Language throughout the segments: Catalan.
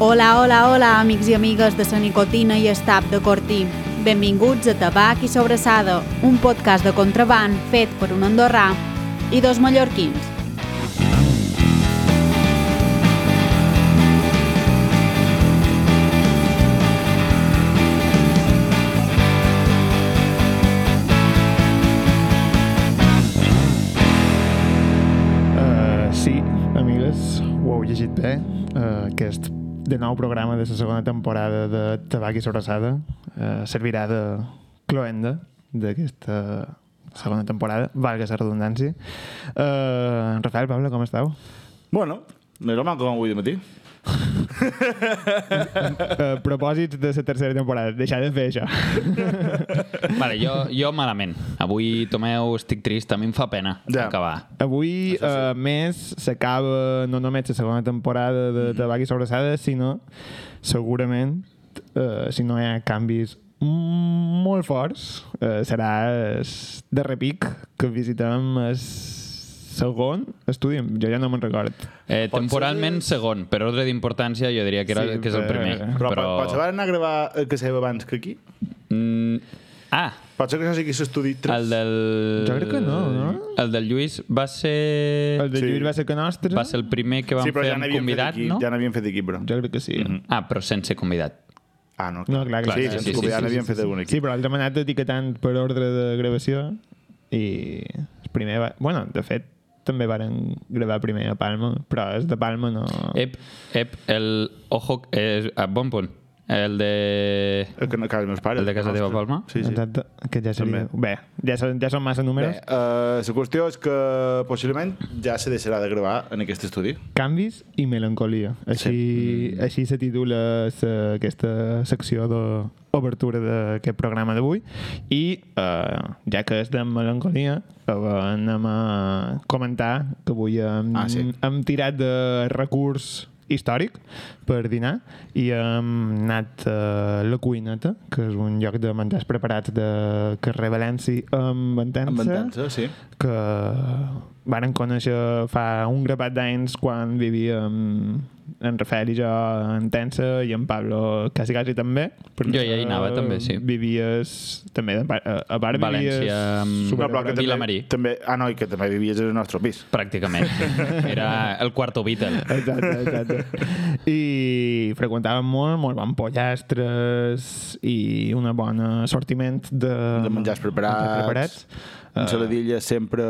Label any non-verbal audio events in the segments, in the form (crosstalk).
Hola, hola, hola, amics i amigues de la nicotina i estap de Cortí. Benvinguts a Tabac i Sobressada, un podcast de contraband fet per un andorrà i dos mallorquins. Uh, sí, amigues, ho heu llegit bé, uh, aquest de nou programa de la segona temporada de Tabac i Sobrassada uh, servirà de cloenda d'aquesta segona temporada, valga la redundància. Uh, Rafael, Pablo, com esteu? Bueno, més o menys com avui de matí. Uh, propòsits de la tercera temporada, deixar de fer això. Vale, jo, jo malament. Avui, Tomeu, estic trist, a mi em fa pena Ja. ja. acabar. Avui, sí. a més, s'acaba no només la segona temporada de Tabac i Sobrassada, sinó, segurament, eh, si no hi ha canvis molt forts, eh, serà el darrer pic que visitem el segon estudi. Jo ja no me'n record. Eh, temporalment segon, per ordre d'importància jo diria que, era, Sí, eh, sí, que és el però- primer. Però, però... potser van anar a gravar el que seva abans que aquí? Mm, ah, Potser que això sigui l'estudi 3. el del... Jo crec que no, no? El del Lluís va ser... El de Sí. sí. Lluís va ser que nostre? Va ser el primer que vam Sí, però fer ja amb n'havien fet convidat, aquí, no? ja n'havien fet aquí, però. Jo crec que sí. Mm -hmm. Ah, però sense convidat. Ah, no, No, clar, clar. sí, clar, sense sí, sí, convidat sí, n'havien fet algun Sí, aquí. però el demanat d'etiquetant per ordre de gravació i el primer va... Bueno, de fet, també varen gravar primer a Palma, però és de Palma no... Ep, ep, el... Ojo, eh, a bon punt. El de... El que no casa meus pares. El de casa teva, Ostres. Palma? Sí, sí. Exacte, que ja seria... Bé, ja són, ja són massa Bé, números. Bé. eh, la qüestió és que eh, possiblement ja se deixarà de gravar en aquest estudi. Canvis i melancolia. Així, sí. així se titula sa, aquesta secció d'obertura d'aquest programa d'avui. I eh, ja que és de melancolia, eh, anem a comentar que avui hem, Ah, sí. hem tirat de recurs històric per dinar i hem anat a la cuineta, que és un lloc de mantars preparats de carrer Valenci amb Ventança. Amb ventança, sí. que varen conèixer fa un grapat d'anys quan vivíem en Rafael i jo en Tensa i en Pablo quasi quasi també eh, Jo ja hi anava, també, sí. vivies també de, pa- a, a part València, vivies mm, amb- super a No, però prop. que Vilamarí. també... Ah, no, i que també vivies en el nostre pis. Pràcticament. (laughs) Era el quarto Beatle. Exacte, exacte. I freqüentàvem molt, molt bon pollastres i un bon assortiment de, De menjars preparats. menjars preparats. Uh... Ensaladilles sempre,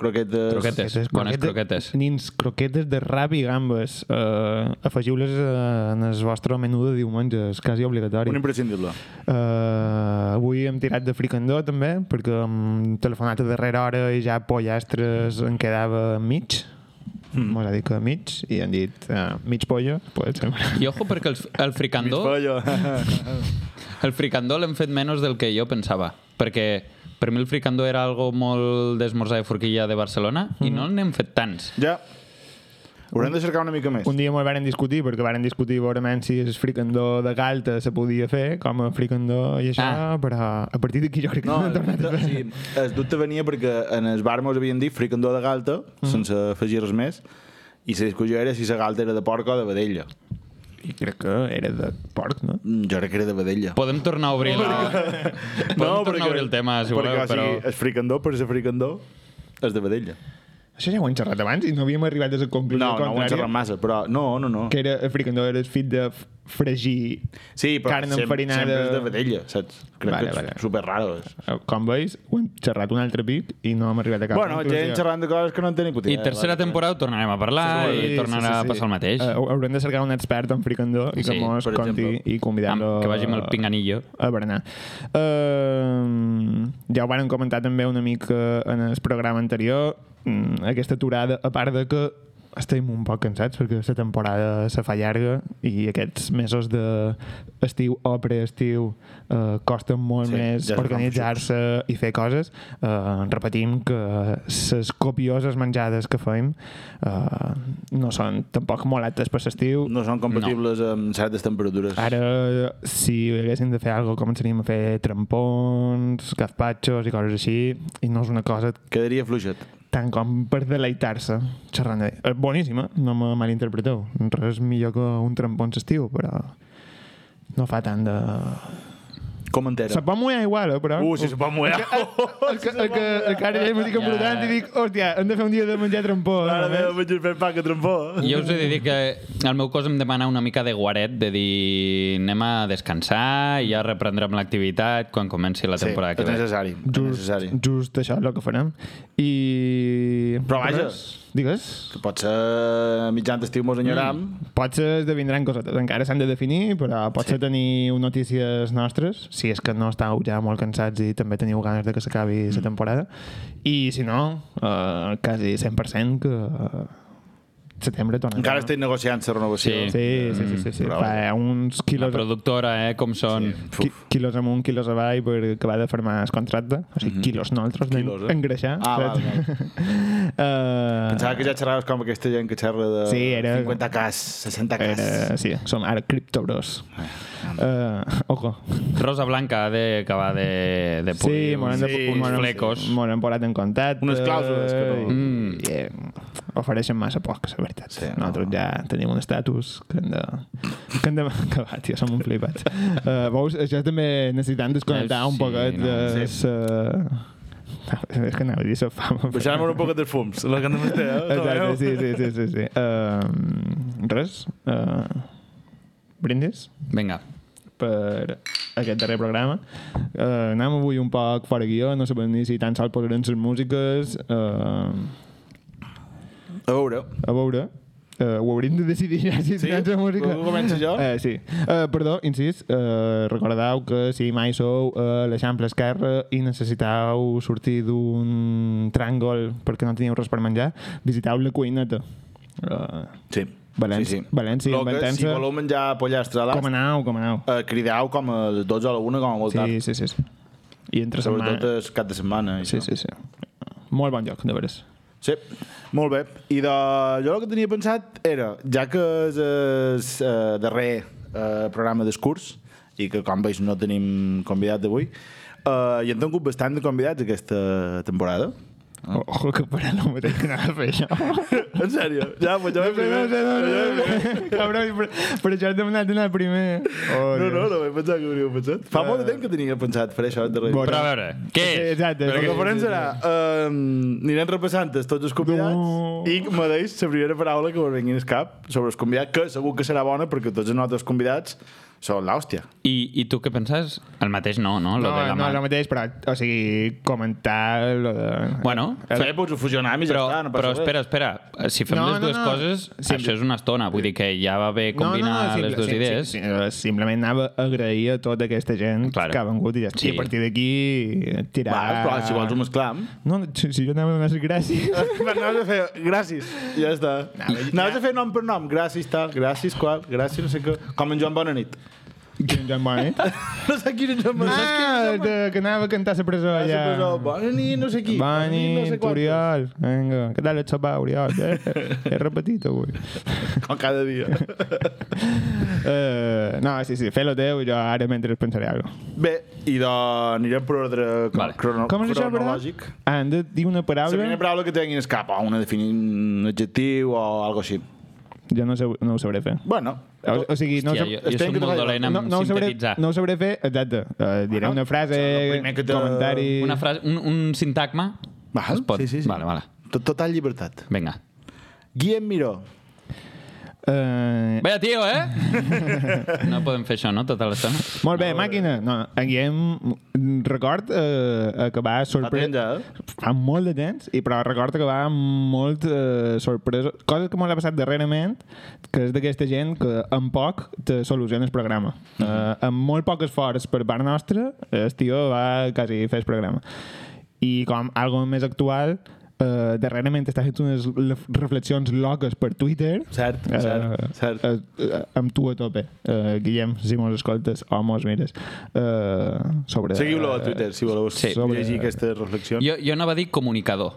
croquetes... Ah. Croquetes. bones croquetes. Nins, croquetes de rap i gambes. Uh, Afegiu-les eh, en el vostre menú de diumenge, és quasi obligatori. Un imprescindible. Uh, avui hem tirat de fricandó també, perquè hem telefonat a darrera hora i ja pollastres en quedava mig. Mm. Mos ha dit que mig, i han dit uh, mig pollo, pues, sempre. I ojo perquè el, el Mig fricandó... pollo. (laughs) El fricandó l'hem fet menys del que jo pensava, perquè per mi el fricandó era algo molt d'esmorzar de forquilla de Barcelona mm. i no n'hem fet tants. ja. Haurem de cercar una mica més. Un dia molt varen discutir, perquè varen discutir veurement si el fricandó de Galta se podia fer com a fricandó i això, ah. Ah. però a partir d'aquí jo crec que no, (laughs) no No, el han tornat a dubte, fer. sí, el dubte venia perquè en el bar mos havien dit fricandó de galta, mm. sense afegir res més, i la discussió era si la galta era de porc o de vedella. I crec que era de porc, no? Mm, Jo crec que era de vedella. (laughs) Podem tornar a obrir, la... Podem no, tornar a obrir el tema, si voleu, perquè, o però... sigui, el fricandó per ser fricandó és de vedella. Això ja ho hem xerrat abans i no havíem arribat a la conclusió No, no ho hem contrària, xerrat massa, però... No, no, no. que era el fricandó era el fit de f- fregir Sí, però carn sempre, enfarinada. sempre és de vedella, saps? Crec Vale, que és vale. superraro. És. eh, Com veus, ho hem xerrat un altre pic i no hem arribat a cap Bueno, gent xerrant de coses que no en té ni puta I tercera temporada ho tornarem a parlar sí, i tornarà sí, Eh, oh. sí, sí. a passar el mateix. Uh, haurem de cercar un expert en fricandó i que Sí, mos per conti exemple. i convidar-lo... Amb, que vagi amb el pinganillo. a berenar. Uh, ja ho varen comentar també una mica en el programa anterior, mm, aquesta aturada, a part de que estem un poc cansats perquè la temporada se fa llarga i aquests mesos d'estiu o preestiu eh, costen molt Sí, sí, més ja ja es fan organitzar-se i fer coses. Eh, repetim que les copioses menjades que fem eh, no són tampoc molt altes per l'estiu No són compatibles no. amb certes temperatures. Ara, si haguéssim de fer alguna cosa, començaríem a fer trampons, gazpachos i coses així, i no és una cosa Quedaria fluixet. tant com per deleitar-se xerrant de... És boníssima, no me malinterpreteu. Res millor que un trampons estiu, però no fa tant de... Com entera? Se pot mullar igual, eh, però... Uh, si se pot (laughs) mullar. el que, el que, el que ara ja m'estic embrutant i dic, hòstia, hem de fer un dia de menjar trampó. Ara no? ve el metge fent pa que trompó. Jo us he de dir que el meu cos em demana una mica de guaret, de dir anem a descansar i ja reprendrem l'activitat quan comenci la temporada és que ve. necessari, és Just, necessari. just això és el que farem. I... Però vaja. Res, Digues. Potser mitjan estiu mos enyoram. Mm. Potser esdevindran cosetes, encara s'han de definir, però potser sí. teniu notícies nostres, si és que no estàveu ja molt cansats i també teniu ganes de que s'acabi Mm. la temporada. I si no, eh, quasi 100% que eh, setembre torna. Encara estic negociant la renovació. Sí. Sí, sí, sí, sí, sí. però Fa uns La Ah, quilos, productora, eh, com són. qui, quilos amunt, quilos avall, perquè va de firmar el contracte. O sigui, quilos nosaltres Mhm. Quilos, d'en- eh? engreixar. Ah, val, val. (laughs) Eh, Pensava que ja xerraves com aquesta gent que xerra de Sí, era- 50 cas, 60 cas. Era, eh, sí, som ara criptobros. Ah, Uh, ojo. Rosa Blanca ha d'acabar de, de Sí, pulir m'ho uns, han de- m'ho uns han- flecos. m'ho han posat en contacte. Unes clàusules que no- eh, i- Mm. i, eh, ofereixen massa poc, la veritat. Sí, no. Nosaltres ja tenim un estatus que hem de... Que hem de... (laughs) Que va, tio, som un flipat. Uh, veus, això també necessitem desconnectar un Eh, Sí, poquet no, de... sí. sa- (laughs) És que anava a dir la fama. però- Baixar-me un poc de fums. La que no m'entén, eh? (laughs) Exacte, sí, sí, sí. sí, sí. Uh, res. Uh, brindis? Vinga. per aquest darrer programa. Uh, anem avui un poc fora guió, no sabem ni si tan sol posarem les músiques. Uh, A veure. a veure, uh, ho hauríem de decidir ja si Sí? tenen la música. Ho començo jo? Uh, sí. Uh, perdó, incís, uh, recordeu que si mai sou a l'Eixample Esquerra i necessiteu sortir d'un tràngol perquè no teniu res per menjar, visiteu la cuineta. Uh, Sí. València- València, Lo que, inventant-se- si voleu menjar pollastre a com l'ast, anau, com anau. eh, crideu com a les 12 a la 1, com a molt Sí, tard. sí, sí. sí. I entre setmana... Sobretot és cap de setmana. i Sí, això. sí, sí. Molt bon lloc, de veres. Sí, molt bé. I de... jo el que tenia pensat era, ja que és el eh, darrer eh, programa d'escurs, i que com veus no tenim convidat d'avui, eh, i hem tingut bastant de convidats aquesta temporada. Oh. Ojo que per no me tenc nada a fer això. (laughs) En sèrio? Ja, pues jo vaig primer. Cabrón, per, per això he demanat anar primer. Oh, No, no, Dios. no, vaig pensar que ho hauríeu pensat. Fa molt de temps que tenia pensat fer això. Darrer. Bueno. Eh, Però a veure, què Sí, és? exacte. El que farem serà... Eh, anirem repassant tots els convidats No. i me deis la primera paraula que vos vingui al cap sobre els convidats, que segur que serà bona perquè tots els nostres convidats són l'hòstia. I, I tu què penses? El mateix no, no? Lo No, de la no, mà. el mateix, però, o sigui, comentar... Lo de... Bueno, Eh, Fer, pots doncs ho fusionar i ja però, està, no passa però espera, res. espera. Si fem No, les no, dues no. coses, Simple. això és una estona. Vull dir que ja va bé combinar les dues idees. Sí, sí, sí, simplement anava a agrair a tota aquesta gent Claro. que ha vengut i ja està. Sí. I a partir d'aquí tirar... Va, però si vols ho mesclam. No, no, si si jo anava a donar les (laughs) gràcies... Anaves a fer gràcies, ja està. Anaves a fer nom per nom, gràcies tal, gràcies qual, gràcies no sé què. Com en Joan Bonanit. Quin Joan Bonet? (laughs) No sé qui era en Joan Bonanit. Ah, de, que anava a cantar a la presó Ah, allà. ja. Bonanit, no sé qui. Bani, Bonanit, no sé quantos. Oriol, vinga. Què tal el sopar, (laughs) Oriol? Eh? He repetit avui. Com cada dia. (laughs) Uh, no, sí, sí, fer-lo teu i jo ara mentre pensaré alguna cosa. Bé, i de... anirem per ordre Vale. vale. crono... Com es diu cronològic. Ah, hem de dir una La primera paraula? paraula que tinguin és cap a una definir un adjectiu o algo així. Jo no, sé, no ho sabré fer. Bueno, O, o sigui, no, ho sab- Hòstia, jo, jo estem soc que molt treballem. dolent en no, no, ho sabré, sintetitzar. no ho sabré fer, exacte. Uh, diré Bueno, una frase, és el primer que te- comentari... Una frase, un, un sintagma? Val, Es pot? sí, sí, sí. Vale, vale. tot, total llibertat. Vinga. Guillem Miró. Uh, Vaya tio, eh? (laughs) no podem fer això, no? Tota l'estona. molt bé, màquina. No, en Guillem, record eh, que va sorpresa... temps, eh? Fa molt de temps, i però recordo que va molt eh, sorpresa. Cosa que m'ha passat darrerament, que és d'aquesta gent que en poc te soluciona el programa. Mm -hmm. eh, amb molt poc esforç per part nostra, eh, el tio va quasi fer el programa. I com algo més actual, eh, darrerament està fent unes lef- reflexions loques per Twitter. Cert, cert, cert. Eh, eh, amb tu a tope, eh, Guillem, si mos escoltes o mos mires. Eh, sobre, eh, Seguiu-lo a Twitter, si voleu Sí. sí. llegir aquestes reflexions. Jo, jo anava a dir comunicador.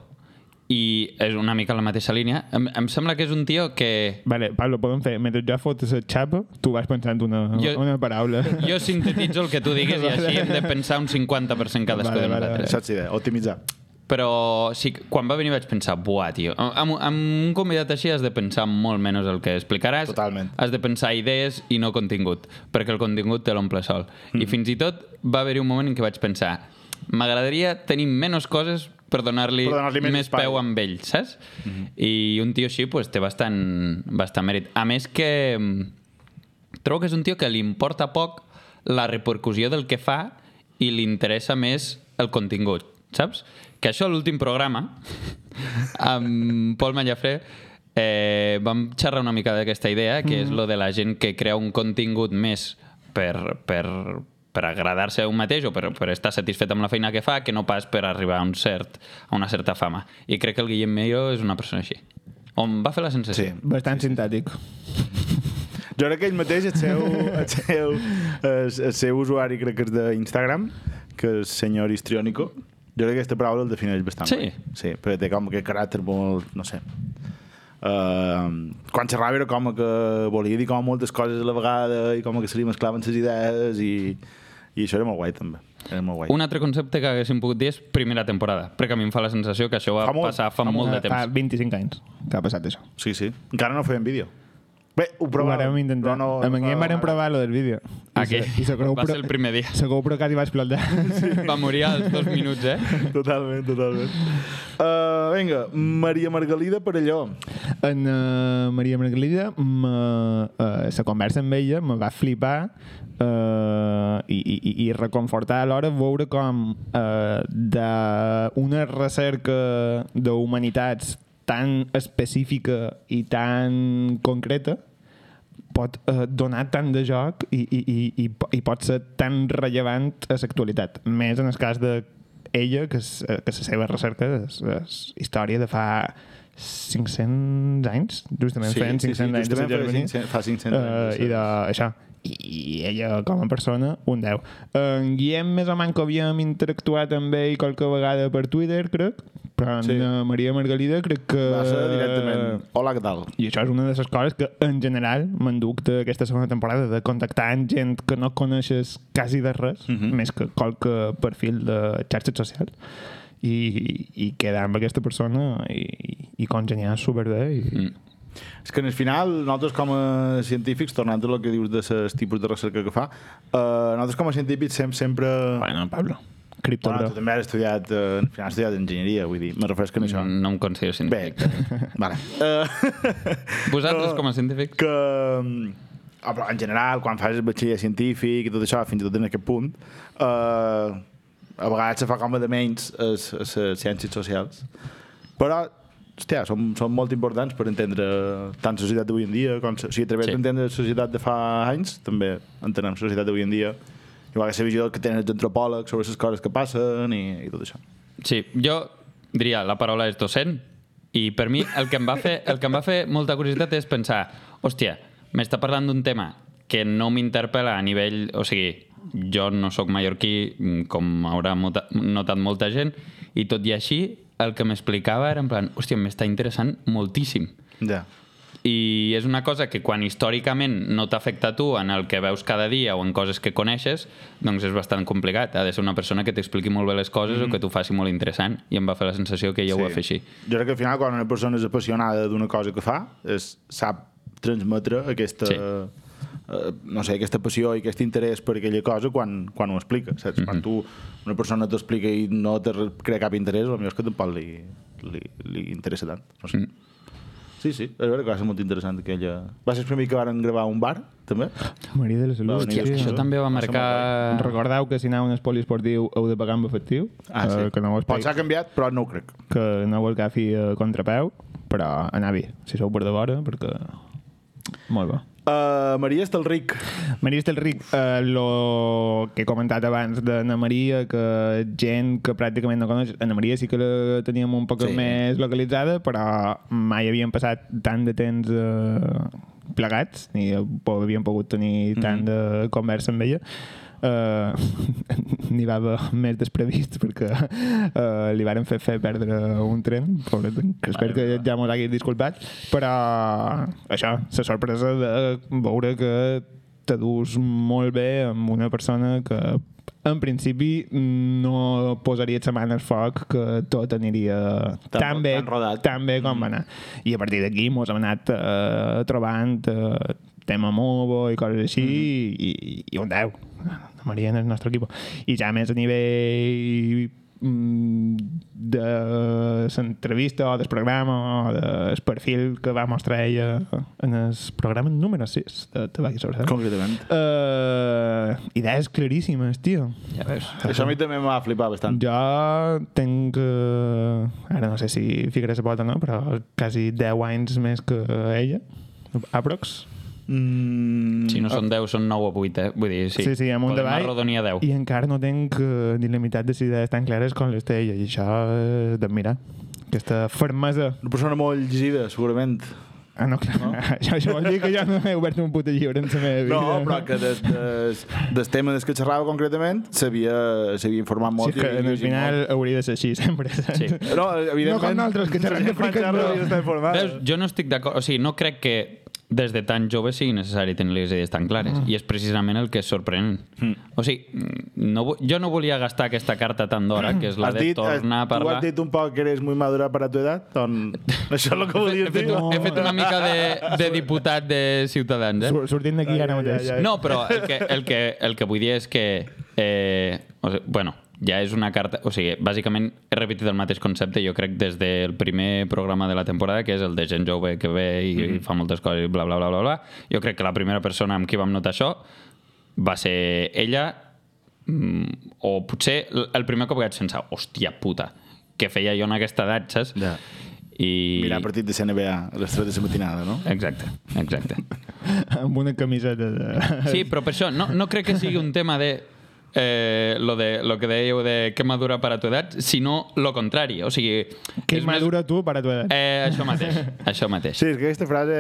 I és una mica la mateixa línia. Em, em sembla que és un tio que... Vale, Pablo, podem fer, mentre jo fotes el xapa, tu vas pensant una, Jo- una paraula. Jo sintetitzo el que tu digues i així hem de pensar un 50% cadascú Vale, de vale, nosaltres. Saps idea, optimitzar. Però sí, que quan va venir vaig pensar, buah, tio, amb, amb un convidat així has de pensar molt menys el que explicaràs. Totalment. Has de pensar idees i no contingut, perquè el contingut te l'omple sol. Mm. I fins i tot va haver-hi un moment en què vaig pensar, m'agradaria tenir menys coses per donar-li Per donar-li donar més més espai. peu amb ell, saps? Mm -hmm. I un tio així pues, té bastant, bastant mèrit. A més que mm, trobo que és un tio que li importa poc la repercussió del que fa i li interessa més el contingut, saps? Que això a l'últim programa, amb Pol Mallafré, eh, vam xerrar una mica d'aquesta idea, que Mm. és lo de la gent que crea un contingut més per, per, per agradar-se a un mateix o per, per estar satisfet amb la feina que fa que no pas per arribar a, un cert, a una certa fama. I crec que el Guillem Meiro és una persona així. On va fer la sensació. Sí. Bastant sintètic. Jo crec que ell mateix, el seu, el seu, el, el seu usuari crec que és d'Instagram, que és senyor histriónico, jo crec que aquesta paraula el defineix bastant Sí. bé. Sí, perquè té com aquest caràcter molt, no sé... Uh, quan xerrava era com que volia dir com moltes coses a la vegada i com que se li mesclaven les idees i, i això era molt guai també. Era molt guai. Un altre concepte que haguéssim pogut dir és primera temporada, perquè a mi em fa la sensació que això Fa va fa molt, passar fa, molt de Eh, Fa temps. 25 anys que ha passat això. Sí, sí. Encara no feien vídeo. Bé, ho Ho provàvem. vàrem intentar. No, no, amb en Guillem vàrem provar lo del vídeo. Ah, que va ser el primer dia. La GoPro quasi va explotar. Sí. Va morir als dos minuts, eh? (laughs) Totalment, totalment. Uh, vinga, Maria Margalida Parelló. En uh, Maria Margalida, la uh, conversa amb ella me va flipar uh, i, i, i- i reconfortar alhora veure com uh, d'una recerca d'humanitats tan específica i tan concreta pot eh, donar tant de joc i, i, i, i, po- i pot ser tan rellevant a l'actualitat. Més en el cas de ella, que, és, eh, que la seva recerca és, és història de fa 500 anys, justament Sí, feien sí, sí, 500 anys. justament de feia venir. 500 fa 500 anys, Eh, I de, això. I, I ella, com a persona, un 10. En Guillem més o manco havíem interactuat amb ell qualque vegada per Twitter, crec, però en Sí. sí. Maria Margalida crec que... Va ser directament. Hola, què tal? I això és una de les coses que, en general, m'enduc d'aquesta segona temporada, de contactar amb gent que no coneixes quasi de res, més que qualque perfil de xarxes socials, i, i quedar amb aquesta persona i, i congeniar superbé. I... Ah, Mhm. Mm. És que en el final, nosaltres com a científics, tornant a lo que dius de els tipus de recerca que fa, uh, nosaltres com a científics sempre... sempre... Bueno, Pablo, Bueno, criptobro. tu també has estudiat, eh, al final has estudiat enginyeria, vull dir, me refresco en això. No em considero Bé, científic. vale. Eh, (laughs) Vosaltres, com a científics? Que, mm, ah, però en general, quan fas batxiller científic i tot això, fins i tot en aquest punt, eh, a vegades se fa com a de menys a les a les ciències socials. Però, hòstia, són, són molt importants per entendre tant la societat d'avui en dia, com, la- o sigui, a través Sí. sí. d'entendre la societat de fa anys, també entenem la societat d'avui en dia, igual que la visió que tenen els antropòlegs sobre les coses que passen i, i tot això. Sí, jo diria la paraula és docent i per mi el que em va fer, el que em va fer molta curiositat és pensar hòstia, m'està parlant d'un tema que no m'interpel·la a nivell... O sigui, jo no sóc mallorquí, mm, com haurà molta, notat molta gent, i tot i així, el que m'explicava era en plan, hòstia, m'està interessant moltíssim. Ja. I és una cosa que quan històricament no t'afecta a tu en el que veus cada dia o en coses que coneixes, doncs és bastant complicat. Ha de ser una persona que t'expliqui molt bé les coses mm. o que t'ho faci molt interessant. I em va fer la sensació que jo sí. ho va fer així. Jo crec que al final quan una persona és apassionada d'una cosa que fa, és, sap transmetre aquesta... Sí. Sí. Eh, no sé, aquesta passió i aquest interès per aquella cosa quan, quan ho explica, saps? Mm Mhm. -hmm. Quan tu una persona t'explica i no te re- crea cap interès, potser és que tampoc li, li, li interessa tant. No sé. Mm. Sí, sí, és veritat que va ser molt interessant aquella... Va ser el primer que van gravar a un bar, també? Maria de la Salut. Hòstia, sí, Això no? també va marcar... Recordeu que si aneu a un espoli esportiu heu de pagar amb efectiu, Ah, sí. eh, que no ho Pot explico, s'ha canviat, però no ho crec. que no ho agafi a contrapeu, però anar bé, si sou per de vora, perquè... Molt bo. Uh, Maria Estelric. Maria Estelric, eh, lo que he comentat abans d'Anna Maria, que gent que pràcticament no coneix, Anna Maria sí que la teníem un poc Sí. sí. més localitzada, però mai havíem passat tant de temps eh, plegats, ni po- havíem pogut tenir mm -hmm. tant de conversa amb ella. Uh, (laughs) n'hi va haver més desprevist perquè uh, li varen fer fer perdre un tren pobret, que espero que ja mos hagi disculpat però això, la sorpresa de veure que t'adús molt bé amb una persona que en principi no posaria la mà en el foc que tot aniria tan, Tan ro- bé, tan rodat. tan bé com va anar. I a partir d'aquí mos hem anat eh, trobant eh, tema Movo i coses així i, i, i un 10. La Mariana és el nostre equip. I ja més a nivell mm, de l'entrevista o del programa o del perfil que va mostrar ella en el programa número 6 de Tabaqui sobre Sal. Concretament. Eh, idees claríssimes, tio. Ja veus. Això a mi també m'ha flipat bastant. Jo tinc, eh, ara no sé si ficaré la pota o no, però quasi 10 anys més que ella, aprox. Mm, Si no són 10, són 9 o 8, eh? Vull dir, sí. Sí, sí, amunt Podem davall. arrodonir a 10. I encara no tinc eh, ni la meitat de les idees tan clares com les té ella, i això és d'admirar. Aquesta fermesa. Una persona molt llegida, segurament. Ah, no, clar. No? (laughs) això, això vol dir que jo no he obert un puto llibre en la meva vida. No, però que des, des, des tema des que xerrava concretament s'havia s'havia informat Sí, molt. és que i havia en el llegit final hauria de ser així, sempre. saps? Sí. Eh? molt. No, No evidentment... com nosaltres, que (laughs) xerrem de friques, Xerra, no. hauria d'estar informat. Veus, jo no estic d'acord, o sigui, no crec que des de tan jove sigui necessari tenir les idees tan clares, mm. i és precisament el que és sorprenent. Mm. O sigui, no, vo- jo no volia gastar aquesta carta tan d'hora, que és la Has de dit, has, tornar a tu parlar. has dit un poc que eres muy madura para tu edad? Doncs (laughs) això és el que He volies dir. fet, un- he fet una mica de, de diputat de Ciutadans, eh? Sur- Sortint d'aquí ara mateix. No, però el que, el que, el que vull dir és que... Eh, o sigui, bueno, ja és una carta... O sigui, bàsicament he repetit el mateix concepte, jo crec, des del primer programa de la temporada, que és el de gent jove que ve i, mm. i fa moltes coses i bla, bla, bla, bla, bla. Jo crec que la primera persona amb qui vam notar això va ser ella, mm, o potser l- el primer cop que vaig pensar, hòstia puta, què feia jo en aquesta edat, saps? Ja. I... Eh. Mirar partit de CNBA a les 3 de la matinada, no? Exacte, exacte. Amb una camiseta de... Sí, però per això no, no crec que sigui un tema de... Eh, lo, de, lo que dèieu de que madura per a tu edat, sinó lo contrari. O sigui, Que és més- madura tu per a tu edat. Eh, això mateix, això mateix. Sí, és que aquesta frase...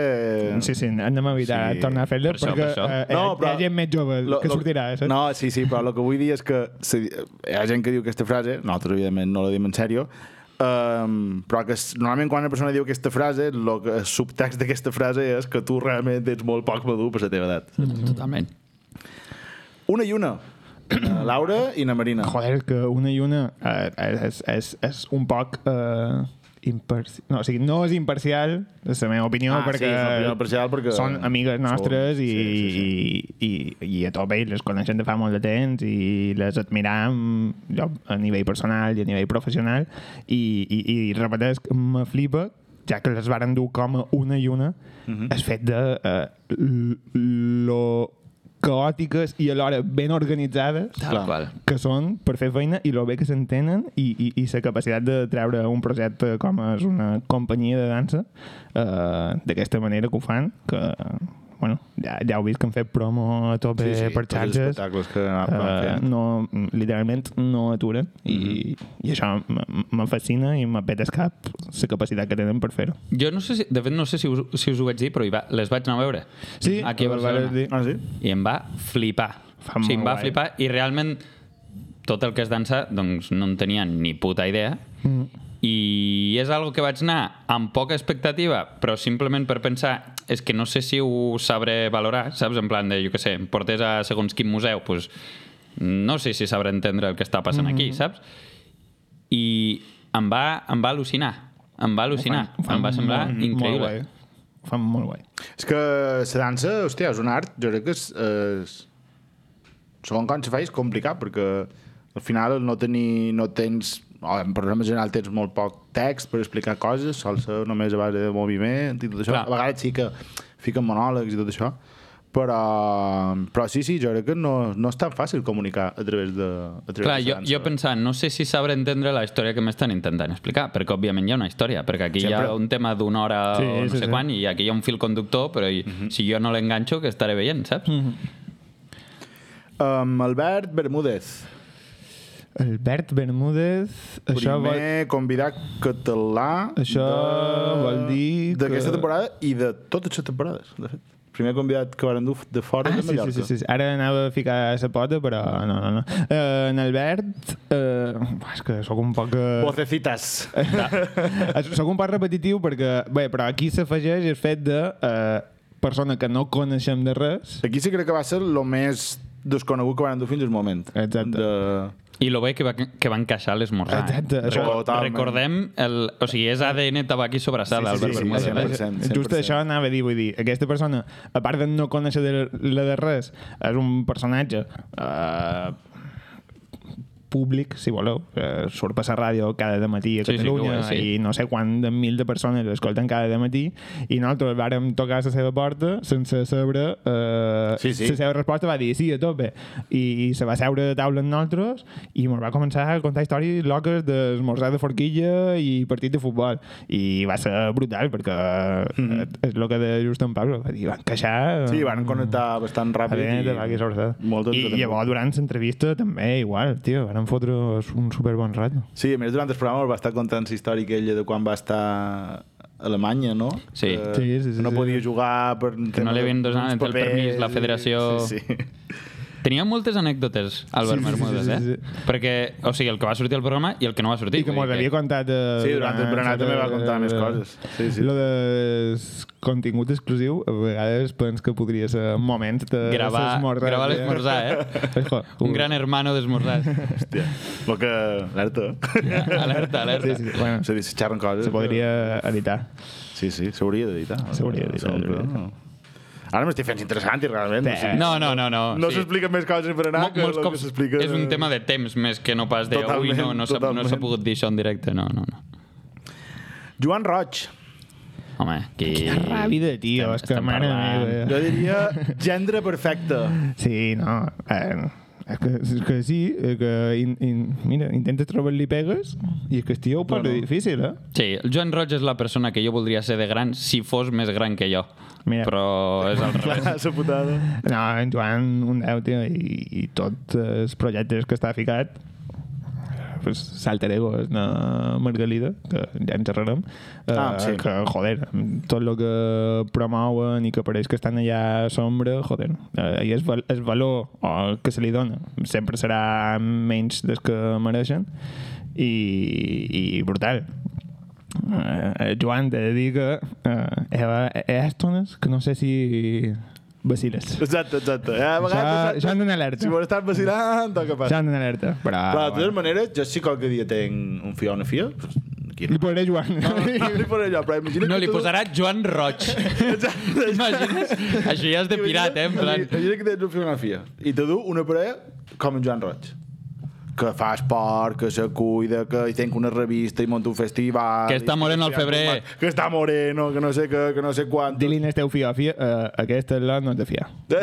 Sí, sí, anem a evitar Sí. sí. tornar a fer-la Per això, perquè per això. eh, hi ha- hi ha gent més jove lo- que lo- sortirà. eh, Saps? No, sí, sí, però el que vull dir és que se, hi ha gent que diu aquesta frase, nosaltres evidentment no la diem en sèrio, um, però que s- normalment quan una persona diu aquesta frase, el que el subtext d'aquesta frase és que tu realment ets molt poc madur per la teva edat. Totalment. Una i una. Na Laura i na Marina. Joder, que una i una eh, és, és, és un poc... Eh, imparci... no, o sigui, no és imparcial, és la meva opinió, Ah, sí, perquè, és una opinió imparcial perquè són amigues són- nostres i, sí, sí, I, i, i a tope i les coneixem de fa molt de temps i les admiram jo, a nivell personal i a nivell professional i, i, i repeteix, me flipa ja que les varen dur com a una i una uh Mhm. -huh. el fet de eh, l- lo caòtiques i alhora ben organitzades Tal Clar. qual. que són per fer feina i lo bé que s'entenen i, i, i la capacitat de treure un projecte com és una companyia de dansa eh, d'aquesta manera que ho fan que bueno, ja, ja heu vist que han fet promo a tope Sí, sí, per tots els xarxes espectacles que van eh, fent. Mm-hmm. no, literalment no aturen i, i això m- me fascina i m'apeta el cap la capacitat que tenen per fer-ho Jo no sé si, de fet no sé si us, si us ho vaig dir, però hi va, les vaig anar a veure. Sí, aquí a ho vares Barcelona. dir. Ah, sí? I em va flipar. Fa o molt sigui, em va guai. flipar i realment tot el que és dansa doncs no en tenia ni puta idea mm. i és algo que vaig anar amb poca expectativa però simplement per pensar és que no sé si ho sabré valorar saps? en plan de, jo què sé, em portés a segons quin museu doncs, no sé si sabré entendre el que està passant mm. aquí, saps? i em va, em va al·lucinar em va al·lucinar, Ho fan em va semblar Mm, molt- molt increïble guai. ho fan molt guai És que la dansa, hòstia, és un art, jo crec que és... és segon com se fa és complicat, perquè al final el no tenir, no tens... o En programa general tens molt poc text per explicar coses, sol ser només a base de moviment i tot això. Clar. A vegades sí que fiquen monòlegs i tot això, però, però sí, sí, jo crec que no, no és tan fàcil comunicar a través de, a través Clar, de la jo, dansa. jo pensant, no sé si sabré entendre la història que m'estan intentant explicar, perquè òbviament hi ha una història, perquè aquí Sempre. hi ha Sempre. un tema d'una hora Sí, sí, o no sí, sí, sé sí. sí. quan, i aquí hi ha un fil conductor, però i, si jo no l'enganxo, que estaré veient, saps? Mm -hmm. Um, Albert Bermúdez, Albert Bermúdez això primer vol... convidat català Això vol dir d'aquesta que- temporada i de totes les temporades de fet. primer convidat que van dur de fora Ah, de sí, Mallorca sí, sí, sí. Ara anava a ficar la pota, però no, no, no. Uh, en Albert, uh, és que sóc un poc... Uh, Vocecitas sóc un poc repetitiu perquè... Bé, però aquí s'afegeix el fet de... Uh, persona que no coneixem de res, (laughs) Aquí sí crec que va ser el més desconegut que van dur fins al moment. Exacte. De... I lo bé que va, que va encaixar l'esmorzar. Exacte, Eh? això- Recor- Recordem, el, o sigui, és ADN tabac i Sí, sobrassada, sí, Albert sí, Bermúdez. sí, eh? 100%, just 100%. això anava a dir, vull dir, aquesta persona, a part de no conèixer de, la de res, és un personatge eh, públic, si voleu, eh, surt per la ràdio cada matí a Sí, sí, que Catalunya ho és, sí. i no sé quant de mil de persones l'escolten cada matí i nosaltres vàrem tocar la seva porta sense saber eh, Sí, sí. la seva resposta va dir sí, a tope i, i se va seure a taula amb nosaltres i ens va començar a contar històries loques d'esmorzar de forquilla i partit de futbol i va ser brutal perquè mm -hmm. és el que de just en Pablo va mm, dir, van queixar Mm-hmm. Sí, van connectar bastant ràpid. i, de Bagui Sobrasada. Molt I entretengut. llavors, durant l'entrevista, també, igual, tio, van fotre un superbon rato. Sí, a més, durant el programa va estar contant la història aquella de quan va estar a Alemanya, no? Eh, Sí. Que Sí, sí, sí, No sí. podia jugar per... Que no li havien donat uns el permís, la federació. Sí, sí. Tenia moltes anècdotes, Albert Sí, sí, sí, Bermúdez, sí, sí, eh? sí. Perquè, o sigui, el que va sortir al programa i el que no va sortir. I que vull mos dir havia contat... Eh, Sí, durant el berenar també va contar eh, més coses. Sí, sí. Lo de contingut exclusiu, a vegades pens que podria ser moments de gravar, s'esmorzar. gravar l'esmorzar, eh? Esco, Un gran (laughs) hermano d'esmorzar. Hòstia. Lo que... Alerta. (laughs) alerta, alerta. Sí, sí, bueno, Se, se xerren coses. se podria editar. Sí, sí, s'hauria d'editar. S'hauria d'editar, Segur, s'hauria d'editar. no? Ara m'estic fent interessant i realment... o sigui, No, no, no. No, No s'expliquen més coses per anar Mol- que el molts que cops s'explica... és un tema de temps més que no pas de avui no, no s'ha no Totalment, s'ha pogut dir això en directe, no, no, no. Joan Roig. Home, qui... Quina ràbida, tio, Estem- és que estem mare parlant. meva. eh. Jo diria gendre perfecte. Sí, no... Eh, és que, és que sí, eh, que in, in, mira, intentes trobar-li pegues i és que estiu per bueno. difícil, eh? Sí, el Joan Roig és la persona que jo voldria ser de gran si fos més gran que jo. Mira. Però és al (laughs) revés. Clar, sa putada. No, en Joan, un deu, tio, i, i tots els projectes que està ficat, pues, Salter Ego és una margalida, que ja en xerrarem, eh, Ah, sí. que, joder, amb tot el que promouen i que pareix que estan allà a sombra, joder, eh, i el, val el valor o el que se li dona sempre serà menys del que mereixen i, i brutal. Eh, Joan, t'he de dir que eh, hi ha- hi ha estones que no sé si vaciles. Exacte, exacte. Eh, a Ja- vegades, ja en una alerta. Si m'ho estan vacilant, toca pas. S'han d'anar alerta. Però, Ah, Clar, de totes maneres, jo sí qualque dia tenc un fill o una filla. pues, Aquí Li no. podré Joan. (laughs) No (laughs) li posaré allò, però imagina't... No, que li tu- posarà Joan Roig. Exacte. T'imagines? Això ja és de pirat, eh? En plan... Imagina't que tens un fill o una filla. I te du una parella com en Joan Roig. Que fa esport, que se cuida, que hi tenc una revista i monta un festival... Que està i- moreno al febrer. Que està moreno, que no sé què, que no sé quant. Dili en esteu fia, fia, eh, aquesta la no te fia. (laughs)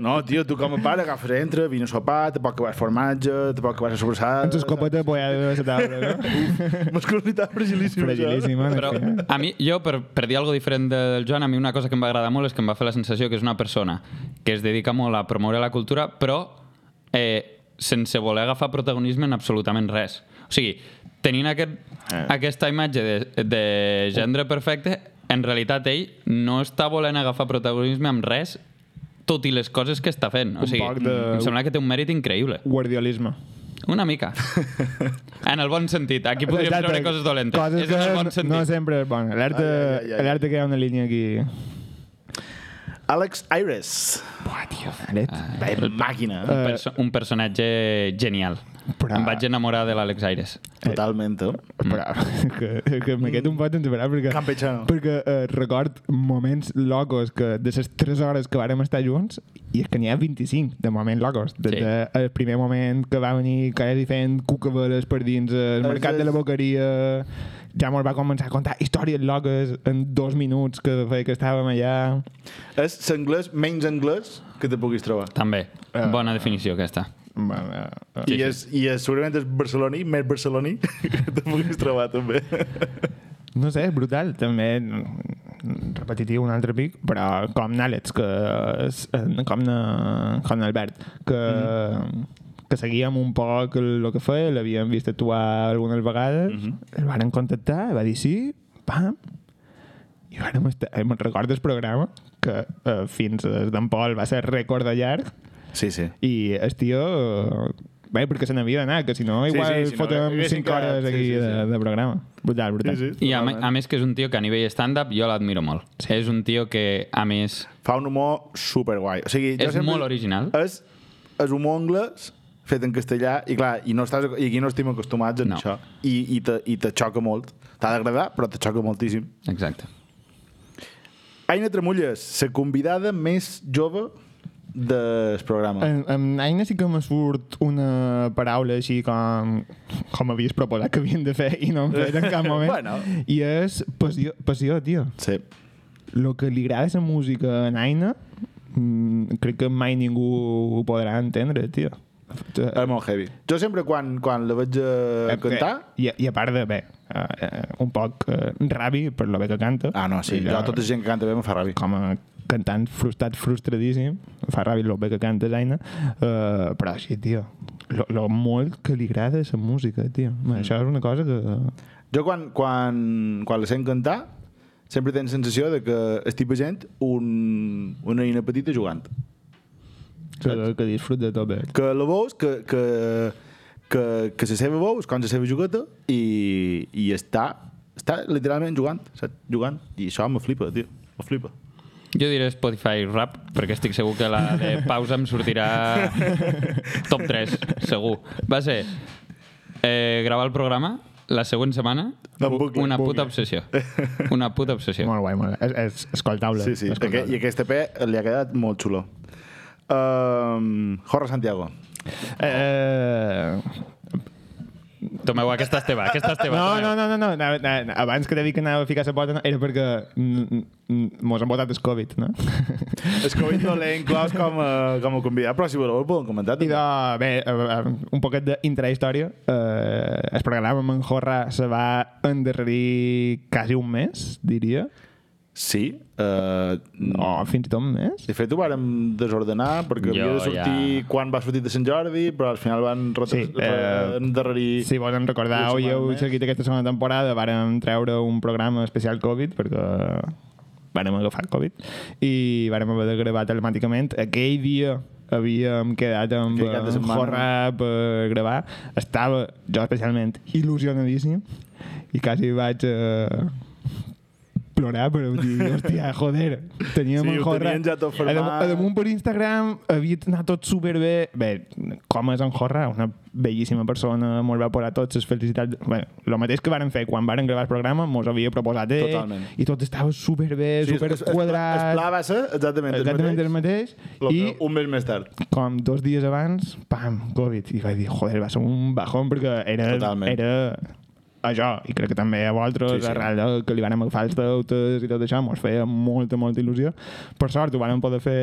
No, tio, tu com a pare agafes, entra, vine a sopar, tampoc que vas formatge, tampoc que vas a sobrassada... Ens (laughs) escopeta pollada de la taula, no? Masculinitat fragilíssima. Fragilíssima. en Però fi. a mi, jo, per, per dir alguna diferent del Joan, a mi una cosa que em va agradar molt és que em va fer la sensació que és una persona que es dedica molt a promoure la cultura, però eh, sense voler agafar protagonisme en absolutament res. O sigui, tenint aquest, Eh. aquesta imatge de, de gendre perfecte, en realitat ell no està volent agafar protagonisme amb res tot i les coses que està fent. O Un sigui, poc de- em sembla que té un mèrit increïble. Guardiolisme. Una (laughs) mica. En el bon sentit. Aquí podríem Exacte, treure coses dolentes. Coses és en el que bon no- sentit. no sempre és bon. Alerta, Ai, ai, ai, ai. alerta que hi ha una línia aquí. Alex Aires. Buah, tio, alet. Vaya màquina. un, Eh? perso un personatge genial. Però- Em vaig enamorar de l'Àlex Aires. Totalment, eh? Però, (laughs) que, que m'he quedat un pot entebrà perquè, Mm. Campechano. perquè eh, record moments locos que de les 3 hores que vàrem estar junts i és que n'hi ha 25 de moments locos des Sí. del de el primer moment que va venir Careri fent cucaveles per dins el És- mercat de la és- boqueria ja mos va començar a contar històries loques en dos minuts que feia que estàvem allà És l'anglès menys anglès que te puguis trobar. També. Eh. Bona definició, aquesta. bueno, eh, I, és, i és, segurament és barceloní, més barceloní (laughs) que te puguis trobar, també. No sé, és brutal. També mm, repetitiu un altre pic, però com n'Àlex, que és- eh, com, na, com n'Albert, que, Mm-hmm. mm. que seguíem un poc el que feia, l'havíem vist actuar algunes vegades, mm Mm-hmm. -hmm. el varen contactar, va dir sí, pam, i vàrem estar... Eh, me'n recordo el programa, que eh, fins a d'en Pol va ser rècord de llarg, Sí, sí. i el tio eh, Bé, perquè se n'havia d'anar, que si no, igual sí, sí, si sí, no, fotem haguéssim 5 quedat, hores sí, aquí sí, sí, sí, sí. de, de programa. Brutal, brutal. Sí, sí. I a, me- a més que és un tio que a nivell stand-up jo l'admiro molt. Sí. És un tio que, a més, Fa un humor superguai. O sigui, jo És sempre- molt original. És, és humor anglès fet en castellà i clar, i, no estàs, i aquí no estem acostumats a No. no. això. I, i, te, I te xoca molt. T'ha d'agradar, però te xoca moltíssim. exacte. Aina Tremulles, la convidada més jove del programa. En, en Aina sí que me surt una paraula així com, com havies proposat que havien de fer i no hem fet en (laughs) cap moment. Bueno. I és passió, passió, tio. Sí. El que li agrada la música a Aina mm, crec que mai ningú ho podrà entendre, tio. eh, És molt heavy. Jo sempre quan, quan la veig a cantar... I, I a part de, bé, eh, eh, un poc eh, rabi per lo bé que canta. Ah, no, sí. I Jo, tota gent que canta bé me fa ràbia. com a cantant frustrat, frustradíssim. Fa ràbia el bé que canta Aina. Uh, però sí, tio, lo, lo molt que li agrada la música, tio. Mm. Això és una cosa que... Jo quan, quan, quan la sent cantar sempre tens sensació de que estic veient un, una nina petita jugant. que, que disfruta de tot bé. Que la veus, que, que, que, que la seva veu és com la seva jugueta i, i està, està literalment jugant, saps? Jugant. I això me flipa, tio. Me flipa. Jo diré Spotify Rap, perquè estic segur que la de pausa em sortirà top 3, segur. Va ser eh, gravar el programa la següent setmana, En bucle, una en puta obsessió. Una puta obsessió. Molt guai, molt guai. És, és escoltable. Sí, sí. escoltable. Aquest, I aquest EP li ha quedat molt xulo. Um, Jorge Santiago. Eh, Tomeu, aquesta és teva, aquesta és teva. no, tomeu. no, no, no, no. Anava, anava, abans que t'he dit que anava a ficar la pota, no, era perquè mm, mm, mos han votat el Covid, no? És que avui no l'he inclòs com a, com a convidat, però si voleu ho podem comentar. I també. de, bé, eh, eh, un poquet d'intrahistòria. Eh, el programa amb en Jorra se va endarrerir quasi un mes, diria. Sí. Uh, No, fins i tot un mes. De fet, ho vàrem desordenar perquè Jo havia de sortir ja- quan va sortir de Sant Jordi, però al final van Sí, retras... sí, eh, eh... endarrerir... Si volen recordar, Una avui setmana heu més. seguit aquesta segona temporada, vàrem treure un programa especial Covid, perquè vàrem agafar Covid, i vàrem haver de gravar telemàticament. Aquell dia havíem quedat amb Aquell cap de en setmana. Jorra per gravar. Estava, jo especialment, il·lusionadíssim, i quasi vaig... Eh, plorar, però vull dir, hòstia, joder, teníem Sí, en ho Jorra... tenien ja tot A damunt- a format. damunt per Instagram havia anat tot superbé. Bé, com és en Jorra, una bellíssima persona, molt va posar tots, les felicitats... Bé, el mateix que varen fer quan varen gravar el programa, mos havia proposat ell, Totalment. i tot estava superbé, sí, es- es- es- Es pla superquadrat, va ser exactament, exactament el el mateix, mateix, lo que i un mes més tard. com dos dies abans, pam, Covid. I vaig dir, joder, va ser un bajón perquè era... Totalment. era això, i crec que també a vosaltres, Sí, sí, sí. sí. arrel de que li van agafar els deutes i tot això, mos feia molta, molta il·lusió. Per sort, ho van poder fer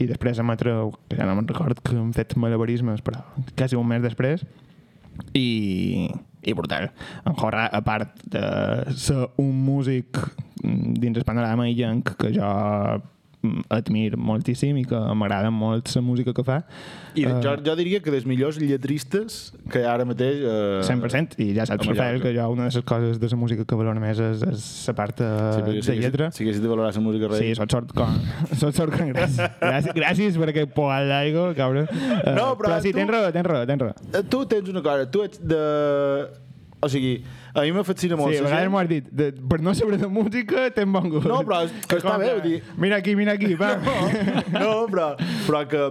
i després emetre, que ja no me'n record que hem fet malabarismes, però quasi un mes després, i, i brutal. En Jorra, a part de ser un músic mm, dins el panorama illenc que jo mm, admiro moltíssim i que m'agrada molt la música que fa, I Eh. uh, jo, jo diria que dels millors lletristes que hi ha ara mateix... Uh, 100%, i ja saps, a Mallorca. Rafael, que jo una de les coses de la música que valoro més és, és la part de, eh, de lletra. Si haguessis de valorar la música rei. Sí, sort, sort, con, sot (laughs) sort con gràcies. Gràcies, gràcies per aquest poal d'aigua, cabrón. Eh, No, però però sí, tu- tens raó, tens raó, tens raó. Eh, Tu tens una cosa, tu ets de... O sigui, a mi me fascina molt. Sí, a la vegades gent- m'ho has dit. De, per no saber de música, ten bon gust. No, però és- que està bé, vull dir- Mira aquí, mira aquí, va. (laughs) no, però, però que...